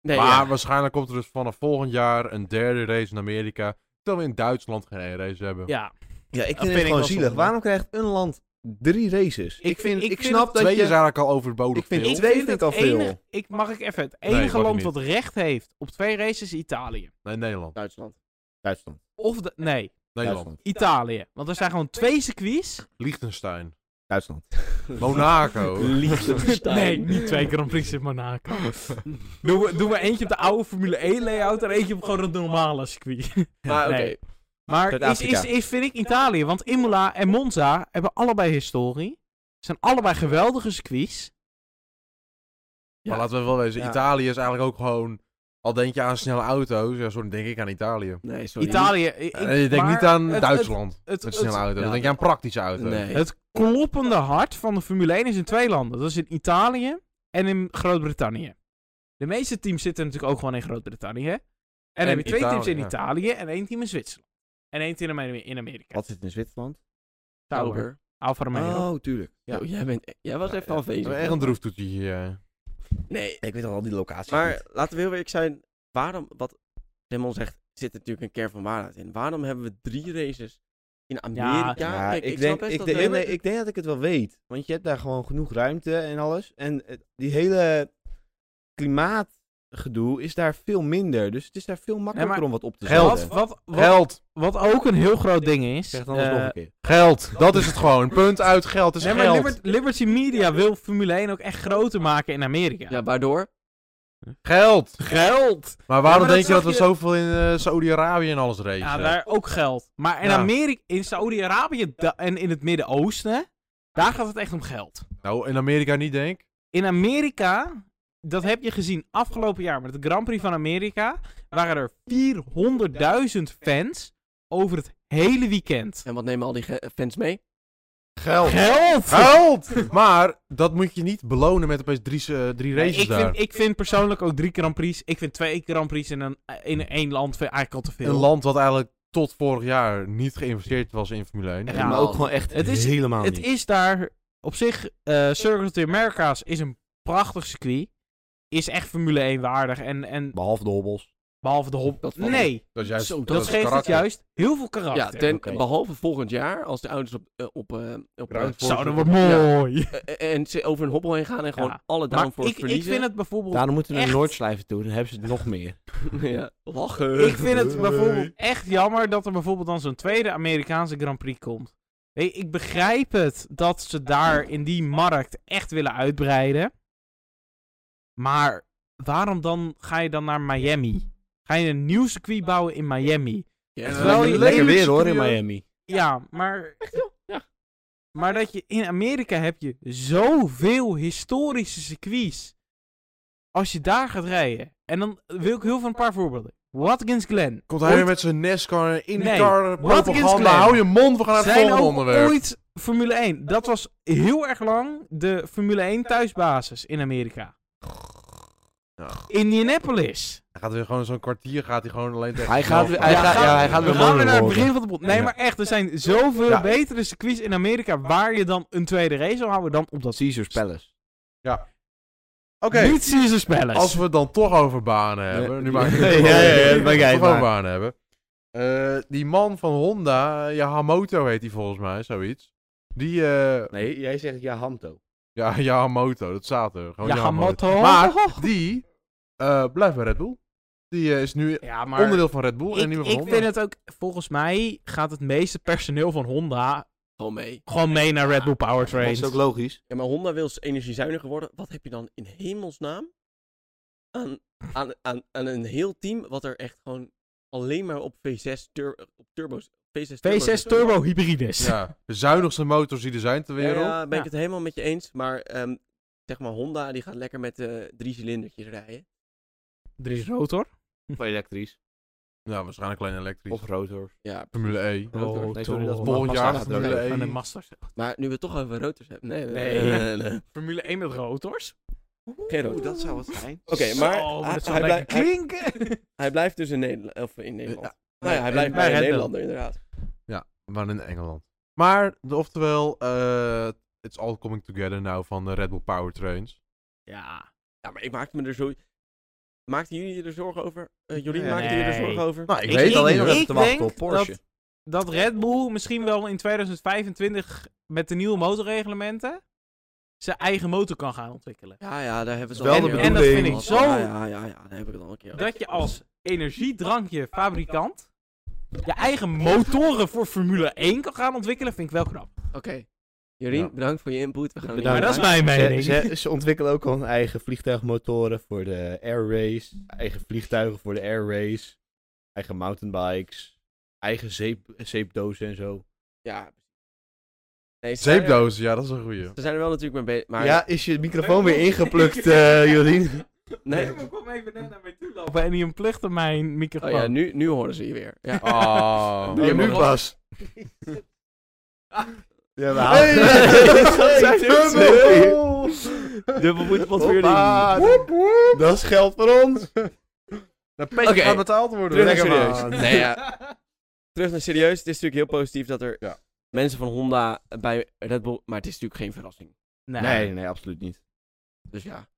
[SPEAKER 2] Nee,
[SPEAKER 3] maar
[SPEAKER 2] ja.
[SPEAKER 3] waarschijnlijk komt er dus vanaf volgend jaar een derde race in Amerika. Terwijl we in Duitsland geen ene race hebben.
[SPEAKER 4] Ja.
[SPEAKER 1] Ja, ik
[SPEAKER 4] vind
[SPEAKER 1] vind
[SPEAKER 4] ik
[SPEAKER 1] het gewoon
[SPEAKER 4] wel
[SPEAKER 1] zielig.
[SPEAKER 4] zonde.
[SPEAKER 1] Waarom krijgt een land drie races? Ik, vind, ik,
[SPEAKER 4] vind
[SPEAKER 1] snap
[SPEAKER 4] het
[SPEAKER 1] dat
[SPEAKER 3] Twee is
[SPEAKER 1] je...
[SPEAKER 3] eigenlijk al overbodig
[SPEAKER 1] Ik vind
[SPEAKER 3] veel.
[SPEAKER 1] twee vind ik
[SPEAKER 4] het
[SPEAKER 1] al veel.
[SPEAKER 4] enige- ik, mag ik even? Het
[SPEAKER 3] Nee,
[SPEAKER 4] enige
[SPEAKER 3] mag
[SPEAKER 4] land
[SPEAKER 3] ik niet.
[SPEAKER 4] wat recht heeft op twee races is Italië.
[SPEAKER 3] Nee, Nederland.
[SPEAKER 2] Duitsland.
[SPEAKER 1] Duitsland.
[SPEAKER 4] Of de, nee,
[SPEAKER 3] Nederland.
[SPEAKER 4] Italië. Want er zijn gewoon twee circuits.
[SPEAKER 3] Liechtenstein.
[SPEAKER 1] Duitsland.
[SPEAKER 3] Monaco.
[SPEAKER 2] Liechtenstein.
[SPEAKER 4] Nee, niet twee Grand Prix in Monaco. doen, we, doen we eentje op de oude Formule 1 layout en eentje op gewoon het normale circuit.
[SPEAKER 2] Maar oké.
[SPEAKER 4] Nee. Maar is,
[SPEAKER 1] Zuid-Afrika.
[SPEAKER 4] is, is, vind ik Italië, want Imola en Monza hebben allebei historie. Zijn allebei geweldige circuits.
[SPEAKER 3] Maar laten we wel wezen,
[SPEAKER 1] Ja.
[SPEAKER 3] Italië is eigenlijk ook gewoon... Al denk je aan snelle auto's, ja, zo denk ik aan Italië.
[SPEAKER 2] Nee, sorry.
[SPEAKER 4] Italië. Ik,
[SPEAKER 3] En je
[SPEAKER 4] maar
[SPEAKER 3] denkt Eh, niet aan
[SPEAKER 4] het- het-
[SPEAKER 3] Duitsland
[SPEAKER 4] het-
[SPEAKER 3] met
[SPEAKER 4] het-
[SPEAKER 3] snelle auto's.
[SPEAKER 2] ja.
[SPEAKER 3] Dan denk je aan praktische auto's.
[SPEAKER 2] Nee.
[SPEAKER 4] Het kloppende hart van de Formule 1 is in twee landen. Dat is in Italië en in Groot-Brittannië. De meeste teams zitten natuurlijk ook gewoon in Groot-Brittannië. En, dan
[SPEAKER 3] En
[SPEAKER 4] heb je twee
[SPEAKER 3] Italië,
[SPEAKER 4] teams in
[SPEAKER 3] ja.
[SPEAKER 4] Italië en één team in Zwitserland. En één team in Amer- in Amerika.
[SPEAKER 1] Wat zit in Zwitserland?
[SPEAKER 4] Sauber. Alfa Romeo.
[SPEAKER 1] Oh, tuurlijk. Ja.
[SPEAKER 2] Yo, jij, bent, jij was even
[SPEAKER 3] We
[SPEAKER 2] afwezig.
[SPEAKER 3] hebben echt een droeftoetje hier. ja.
[SPEAKER 2] Nee,
[SPEAKER 1] Ik weet al die locaties
[SPEAKER 2] maar laten we heel eerlijk zijn. Waarom, wat Raymond zegt, zit natuurlijk een kern van waarheid in. Waarom hebben we drie races in Amerika?
[SPEAKER 1] Ja,
[SPEAKER 2] Kijk,
[SPEAKER 1] ik,
[SPEAKER 2] snap
[SPEAKER 1] denk,
[SPEAKER 2] best
[SPEAKER 1] ik,
[SPEAKER 2] dat
[SPEAKER 1] denk-
[SPEAKER 2] we-
[SPEAKER 1] nee, ik denk dat ik het wel weet. Want je hebt daar gewoon genoeg ruimte en alles. En eh, die hele klimaatgedoe is daar veel minder. Dus het is daar veel makkelijker
[SPEAKER 4] maar
[SPEAKER 1] om wat op te
[SPEAKER 3] geld.
[SPEAKER 1] zetten.
[SPEAKER 4] Wat, wat, wat,
[SPEAKER 3] Geld.
[SPEAKER 4] wat ook een heel groot ding is.
[SPEAKER 1] Zeg dan alles nog
[SPEAKER 4] eh,
[SPEAKER 1] een keer.
[SPEAKER 3] Geld. Dat is het gewoon. Punt uit geld. Het is
[SPEAKER 4] nee, maar
[SPEAKER 3] geld.
[SPEAKER 4] Libert- Liberty Media wil Formule 1 ook echt groter maken in Amerika.
[SPEAKER 2] Ja, waardoor?
[SPEAKER 3] Geld.
[SPEAKER 4] Geld!
[SPEAKER 3] Maar waarom
[SPEAKER 4] Ja, maar
[SPEAKER 3] denk je
[SPEAKER 4] dat
[SPEAKER 3] dat we
[SPEAKER 4] zag
[SPEAKER 3] zoveel in eh, Saudi-Arabië en alles racen?
[SPEAKER 4] Ja, daar ook geld. Maar in
[SPEAKER 3] Ja.
[SPEAKER 4] Amerika, in Saudi-Arabië da- en in het Midden-Oosten, daar gaat het echt om geld.
[SPEAKER 3] Nou, in Amerika niet, denk ik.
[SPEAKER 4] In Amerika, dat heb je gezien afgelopen jaar met de Grand Prix van Amerika, waren er 400.000 fans over het hele weekend.
[SPEAKER 2] En wat nemen al die ge- fans mee?
[SPEAKER 3] Geld.
[SPEAKER 4] Geld!
[SPEAKER 3] Geld! maar dat moet je niet belonen met opeens drie, eh, drie
[SPEAKER 4] Nee,
[SPEAKER 3] races
[SPEAKER 4] ik,
[SPEAKER 3] daar.
[SPEAKER 4] vind, ik vind persoonlijk ook drie Grand Prix. Ik vind twee Grand Prix in, een, in één land vind ik eigenlijk al te veel.
[SPEAKER 3] Een land wat eigenlijk tot vorig jaar niet geïnvesteerd was in Formule 1.
[SPEAKER 4] Ja,
[SPEAKER 1] maar ook gewoon echt
[SPEAKER 4] Het is-
[SPEAKER 1] helemaal
[SPEAKER 4] Het
[SPEAKER 1] niet.
[SPEAKER 4] is daar op zich. eh Circuit of the Americas is een prachtig circuit. Is echt Formule 1 waardig. En, en
[SPEAKER 1] Behalve de hobbels.
[SPEAKER 4] behalve de hop.
[SPEAKER 2] Dat valt
[SPEAKER 4] Nee,
[SPEAKER 3] Dat, is juist,
[SPEAKER 2] Zo,
[SPEAKER 4] dat
[SPEAKER 3] is
[SPEAKER 4] geeft het
[SPEAKER 3] karakter.
[SPEAKER 4] juist heel veel
[SPEAKER 2] Ja,
[SPEAKER 4] karakter.
[SPEAKER 2] ten,
[SPEAKER 1] oké.
[SPEAKER 2] behalve volgend jaar, als de ouders op, eh, op, eh, op eh,
[SPEAKER 3] Ground force.
[SPEAKER 4] Zo, dat wordt mooi.
[SPEAKER 2] eh, eh, en ze over een hobbel heen gaan en gewoon
[SPEAKER 4] Ja,
[SPEAKER 2] alle
[SPEAKER 4] Maar
[SPEAKER 2] downforce
[SPEAKER 4] ik, ik
[SPEAKER 2] verliezen.
[SPEAKER 4] vind het bijvoorbeeld.
[SPEAKER 1] Daarom moeten we naar
[SPEAKER 4] echt-
[SPEAKER 1] Noordslijven toe. Dan hebben ze het nog meer.
[SPEAKER 2] ja, lachen.
[SPEAKER 4] Ik vind het bijvoorbeeld echt jammer dat er bijvoorbeeld dan zo'n tweede Amerikaanse Grand Prix komt. Weet je, ik begrijp het dat ze daar in die markt echt willen uitbreiden. Maar waarom dan ga je dan naar Miami? Ga je een nieuw circuit bouwen in Miami?
[SPEAKER 2] Ja,
[SPEAKER 4] En
[SPEAKER 2] dat
[SPEAKER 4] terwijl
[SPEAKER 2] is
[SPEAKER 4] je-
[SPEAKER 2] een
[SPEAKER 1] Lekker
[SPEAKER 2] lelijk
[SPEAKER 1] weer hoor in
[SPEAKER 2] circuit.
[SPEAKER 1] Miami.
[SPEAKER 4] Ja, maar...
[SPEAKER 2] Ja.
[SPEAKER 4] Maar dat je in Amerika heb je zoveel historische circuits. Als je daar gaat rijden. En dan wil ik heel veel een paar voorbeelden. Watkins Glen.
[SPEAKER 3] Komt hij weer met zijn NASCAR, en IndyCar,
[SPEAKER 4] Watkins Glen.
[SPEAKER 3] propaganda. Hou je mond, we gaan naar het
[SPEAKER 4] zijn
[SPEAKER 3] volgende
[SPEAKER 4] ook
[SPEAKER 3] onderwerp.
[SPEAKER 4] ooit Formule 1. Dat was heel erg lang de Formule 1 thuisbasis in Amerika.
[SPEAKER 3] Ja.
[SPEAKER 4] Indianapolis.
[SPEAKER 3] Hij gaat weer gewoon zo'n kwartier, gaat hij gewoon alleen tegen
[SPEAKER 1] Hij gaat
[SPEAKER 3] zichzelf
[SPEAKER 1] weer- hij
[SPEAKER 3] praten.
[SPEAKER 1] gaat- ja, hij gaat
[SPEAKER 4] we
[SPEAKER 1] weer
[SPEAKER 4] gaan weer
[SPEAKER 1] molen
[SPEAKER 4] naar het
[SPEAKER 1] horen.
[SPEAKER 4] begin van de bond. Nee,
[SPEAKER 3] Ja.
[SPEAKER 4] maar echt, er zijn zoveel
[SPEAKER 3] Ja.
[SPEAKER 4] betere circuits in Amerika waar je dan een tweede race zou houden dan op dat
[SPEAKER 1] Caesars Palace.
[SPEAKER 3] Oké,
[SPEAKER 4] Niet Caesars Palace.
[SPEAKER 3] als we het dan toch over banen
[SPEAKER 1] Ja.
[SPEAKER 3] hebben. Nu
[SPEAKER 1] Ja.
[SPEAKER 3] maak ik
[SPEAKER 1] Ja,
[SPEAKER 3] het
[SPEAKER 1] ja, ja, dat
[SPEAKER 3] toch
[SPEAKER 1] maak jij het
[SPEAKER 3] over
[SPEAKER 1] maar.
[SPEAKER 3] banen hebben. Eh, die man van Honda, eh, Yamamoto heet hij volgens mij, zoiets. Die, eh,
[SPEAKER 1] Nee, jij zegt ja, Hamto.
[SPEAKER 3] ja, Yamamoto, dat staat er. Gewoon
[SPEAKER 4] Yamamoto.
[SPEAKER 3] Oh, Maar die eh, blijft bij Red Bull. Die eh, is nu
[SPEAKER 4] ja, maar
[SPEAKER 3] onderdeel van Red Bull en
[SPEAKER 4] ik,
[SPEAKER 3] niet meer van
[SPEAKER 4] ik
[SPEAKER 3] Honda.
[SPEAKER 4] vind het ook, volgens mij gaat het meeste personeel van Honda
[SPEAKER 2] Gewoon mee.
[SPEAKER 4] gewoon mee naar Red Bull
[SPEAKER 1] Dat
[SPEAKER 4] Powertrain.
[SPEAKER 1] is ook logisch.
[SPEAKER 2] Ja, maar Honda wil energiezuiniger worden. Wat heb je dan in hemelsnaam aan, aan, aan, aan een heel team wat er echt gewoon alleen maar op V6 tur op turbo's... V6 turbo's
[SPEAKER 4] V6 Turbo Hybrides.
[SPEAKER 3] Ja, de zuinigste motors die er zijn ter
[SPEAKER 2] Ja,
[SPEAKER 3] wereld.
[SPEAKER 2] ja, ben ik
[SPEAKER 4] Ja.
[SPEAKER 2] het helemaal met je eens. Maar ehm, zeg maar, Honda die gaat lekker met eh drie cilindertjes rijden.
[SPEAKER 4] Er is rotor.
[SPEAKER 1] Of elektrisch.
[SPEAKER 3] Ja, waarschijnlijk alleen elektrisch.
[SPEAKER 1] Of rotor.
[SPEAKER 2] Ja,
[SPEAKER 3] Formule E.
[SPEAKER 1] Rotor. Nee, sorry, dat is
[SPEAKER 3] Volgend
[SPEAKER 1] Mazda
[SPEAKER 3] jaar
[SPEAKER 1] gaat er
[SPEAKER 3] Formule
[SPEAKER 1] ook.
[SPEAKER 3] één.
[SPEAKER 4] Van de Masters.
[SPEAKER 2] maar nu we het toch over rotors hebben. Nee,
[SPEAKER 4] Nee.
[SPEAKER 2] nee.
[SPEAKER 4] Formule 1 met rotors?
[SPEAKER 2] Geen rotors.
[SPEAKER 1] dat zou wat zijn.
[SPEAKER 2] Oké, maar
[SPEAKER 4] Zo,
[SPEAKER 2] hij,
[SPEAKER 4] dat zou
[SPEAKER 2] hij
[SPEAKER 4] lekker
[SPEAKER 2] blijft- hij-
[SPEAKER 4] klinken.
[SPEAKER 2] hij blijft dus in Nederland. Of in Nederland.
[SPEAKER 3] Ja.
[SPEAKER 2] nou ja, hij blijft
[SPEAKER 4] bij
[SPEAKER 2] bij een
[SPEAKER 4] Red Bull.
[SPEAKER 2] Nederlander inderdaad.
[SPEAKER 3] Maar in Engeland. Maar, de- oftewel, eh it's all coming together nou van de Red Bull Powertrains.
[SPEAKER 4] Ja.
[SPEAKER 2] Ja, maar ik maakte me er zo... Maakten jullie er zorgen over? Eh Jolien,
[SPEAKER 4] Nee.
[SPEAKER 2] maakte je er zorgen over?
[SPEAKER 3] Nou, ik,
[SPEAKER 4] Ik-
[SPEAKER 3] weet
[SPEAKER 4] ik-
[SPEAKER 3] alleen
[SPEAKER 4] nog
[SPEAKER 3] nog
[SPEAKER 4] ik
[SPEAKER 3] dat...
[SPEAKER 4] te wachten denk op Porsche. Dat Red Bull misschien wel in 2025 met de nieuwe motorreglementen zijn eigen motor kan gaan ontwikkelen.
[SPEAKER 2] Ja, ja, daar hebben we
[SPEAKER 1] Wel
[SPEAKER 2] het al
[SPEAKER 1] de
[SPEAKER 2] een keer
[SPEAKER 1] bedoeling.
[SPEAKER 2] over
[SPEAKER 1] En dat
[SPEAKER 2] gehad.
[SPEAKER 4] vind ik zo-
[SPEAKER 2] Ja, ja, ja, ja, daar heb ik het al een keer over.
[SPEAKER 4] Dat je als energiedrankje fabrikant je eigen motoren voor Formule 1 kan gaan ontwikkelen, vind ik wel knap.
[SPEAKER 2] Oké. Jolien,
[SPEAKER 3] Ja.
[SPEAKER 2] bedankt voor je input. We gaan
[SPEAKER 1] Bedankt.
[SPEAKER 2] er
[SPEAKER 4] Maar
[SPEAKER 2] niet
[SPEAKER 4] dat is
[SPEAKER 2] uit.
[SPEAKER 4] mijn
[SPEAKER 1] Ze,
[SPEAKER 4] mening.
[SPEAKER 1] ze, ze ontwikkelen ook al hun eigen vliegtuigmotoren voor de air race. Eigen vliegtuigen voor de air race. Eigen mountainbikes. Eigen zeep, zeepdozen en zo.
[SPEAKER 2] Ja. Nee, ze zijn er-
[SPEAKER 3] Zeepdozen, ja, dat is een goeie.
[SPEAKER 2] Ze zijn er wel natuurlijk mee bezig. Maar
[SPEAKER 1] ja, is je microfoon weer ingeplukt, eh Jolien?
[SPEAKER 2] Nee.
[SPEAKER 4] Ik kwam even net naar mij toe lopen en die ontplichtte mijn microfoon.
[SPEAKER 2] Oh ja, nu, nu horen ze je weer. Ja.
[SPEAKER 3] Oh.
[SPEAKER 1] Doe je nu
[SPEAKER 2] man.
[SPEAKER 1] pas. Ja, we halen-
[SPEAKER 3] Hey, dat zijn
[SPEAKER 1] Hey,
[SPEAKER 3] we.
[SPEAKER 2] Dubbelvoetenpot voor jullie.
[SPEAKER 1] Hoppa, Dat is geld voor ons.
[SPEAKER 3] Dat petje
[SPEAKER 2] Oké.
[SPEAKER 3] gaat betaald worden.
[SPEAKER 2] Terug naar
[SPEAKER 1] Lekker
[SPEAKER 2] serieus.
[SPEAKER 1] man.
[SPEAKER 2] Nee, ja. Terug naar serieus. Het is natuurlijk heel positief dat er
[SPEAKER 3] Ja.
[SPEAKER 2] mensen van Honda bij Red Bull... Maar het is natuurlijk geen verrassing.
[SPEAKER 4] Nee.
[SPEAKER 1] Nee, nee, absoluut niet.
[SPEAKER 2] Dus ja.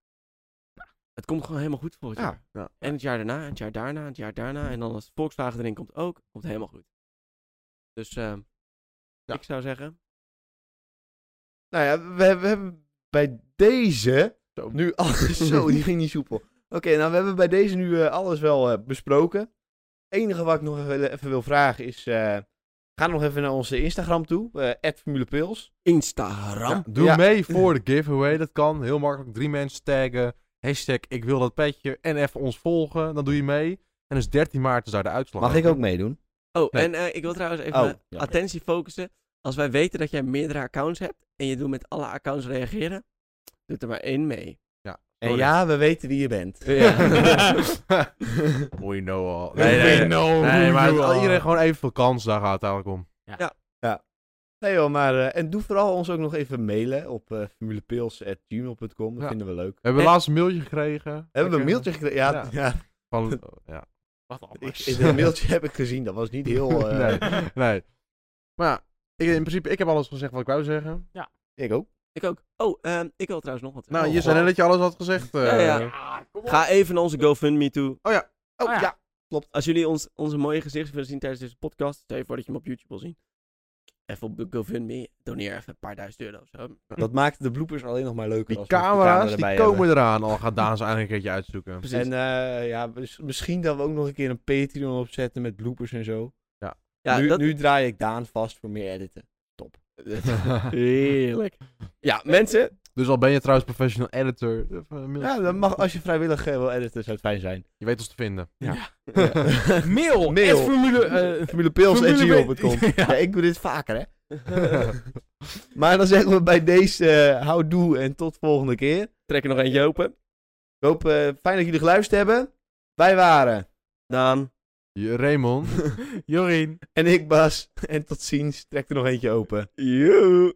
[SPEAKER 2] Het komt gewoon helemaal goed voor het jaar.
[SPEAKER 3] Ja, ja.
[SPEAKER 2] En het jaar daarna, en het jaar daarna, en het jaar daarna. En dan als Volkswagen erin komt ook, komt het helemaal goed. Dus ehm,
[SPEAKER 3] Ja.
[SPEAKER 2] ik zou zeggen...
[SPEAKER 1] Nou ja, we, hebben- we hebben bij deze
[SPEAKER 3] Zo.
[SPEAKER 1] nu alles... Zo, die ging niet soepel. Oké, nou we hebben bij deze nu eh, alles wel eh, besproken. Het enige wat ik nog even, even wil vragen is... eh, ga nog even naar onze Instagram toe. eh @formulepils.
[SPEAKER 2] Instagram.
[SPEAKER 3] Doe
[SPEAKER 1] Ja.
[SPEAKER 3] mee voor de giveaway. Dat kan heel makkelijk. Drie mensen taggen. Hashtag ik wil dat petje. En even ons volgen. Dan doe je mee. En dus 13 maart is daar de uitslag.
[SPEAKER 1] Mag ik ook meedoen?
[SPEAKER 2] Oh,
[SPEAKER 3] Nee.
[SPEAKER 2] en eh, ik wil trouwens even
[SPEAKER 1] Oh,
[SPEAKER 2] mijn
[SPEAKER 1] ja.
[SPEAKER 2] attentie focussen. Als wij weten dat jij meerdere accounts hebt en je doet met alle accounts reageren, doet er maar één mee.
[SPEAKER 1] En
[SPEAKER 2] Oh,
[SPEAKER 1] ja, we weten wie je bent.
[SPEAKER 3] We know all.
[SPEAKER 1] Nee, nee, nee.
[SPEAKER 3] nou Nee, maar dat iedereen gewoon evenveel kans. Daar gaat het eigenlijk om.
[SPEAKER 1] Nee joh, maar... eh, en doe vooral ons ook nog even mailen op eh formulepils.gmail.com. Dat
[SPEAKER 3] Ja.
[SPEAKER 1] vinden we leuk.
[SPEAKER 3] We hebben
[SPEAKER 2] En-
[SPEAKER 3] laatst een mailtje gekregen.
[SPEAKER 1] Hebben we een mailtje gekregen? Ja,
[SPEAKER 3] Ja.
[SPEAKER 1] ja.
[SPEAKER 3] Van, ja.
[SPEAKER 1] ik, dat mailtje heb ik gezien. Dat was niet heel... eh,
[SPEAKER 3] nee, nee. Maar ja, ik, in principe, ik heb alles gezegd wat ik wou zeggen.
[SPEAKER 1] Ik ook.
[SPEAKER 2] Ik ook. Oh, ehm, ik wil trouwens nog wat.
[SPEAKER 3] Nou,
[SPEAKER 2] Oh,
[SPEAKER 3] je zei net dat je alles had gezegd. eh.
[SPEAKER 2] Ja, ja. Ga even naar onze GoFundMe toe.
[SPEAKER 1] Oh,
[SPEAKER 4] Ah, ja.
[SPEAKER 1] ja.
[SPEAKER 2] Als jullie ons, onze mooie gezichten willen zien tijdens deze podcast, stel je voor dat je hem op YouTube wil zien. Even op de GoFundMe, doneer even een paar duizend euro. of Zo.
[SPEAKER 1] Dat maakt de bloopers alleen nog maar leuker.
[SPEAKER 3] Die
[SPEAKER 1] als we nog de camera
[SPEAKER 3] camera's, die
[SPEAKER 1] erbij
[SPEAKER 3] komen
[SPEAKER 1] hebben.
[SPEAKER 3] eraan. Al gaat Daan ze eigenlijk een keertje uitzoeken.
[SPEAKER 2] Precies.
[SPEAKER 1] En eh, ja, dus misschien dat we ook nog een keer een Patreon opzetten met bloopers en zo.
[SPEAKER 2] ja,
[SPEAKER 1] nu,
[SPEAKER 2] dat...
[SPEAKER 1] nu draai ik Daan vast voor meer editen.
[SPEAKER 2] Heerlijk. Ja, mensen.
[SPEAKER 3] dus al ben je trouwens professional editor. eh, van een mail-
[SPEAKER 1] Ja, dan mag, als je vrijwillig eh, wil editen, zou het fijn zijn.
[SPEAKER 3] Je weet ons te vinden.
[SPEAKER 4] eh, Mail.
[SPEAKER 1] Mail.
[SPEAKER 4] at Formule, eh,
[SPEAKER 1] Formulepils.gmail.com
[SPEAKER 4] Ja.
[SPEAKER 1] ja, ik doe dit vaker, hè. maar dan zeggen we bij deze eh, houdoe en tot volgende keer.
[SPEAKER 2] Trek er nog eentje open.
[SPEAKER 1] Ik hoop eh, fijn dat jullie geluisterd hebben. Wij waren...
[SPEAKER 2] Daan.
[SPEAKER 3] Je- Raymond.
[SPEAKER 4] Jorien.
[SPEAKER 1] En ik Bas. En tot ziens. Trek er nog eentje open.
[SPEAKER 2] Joe.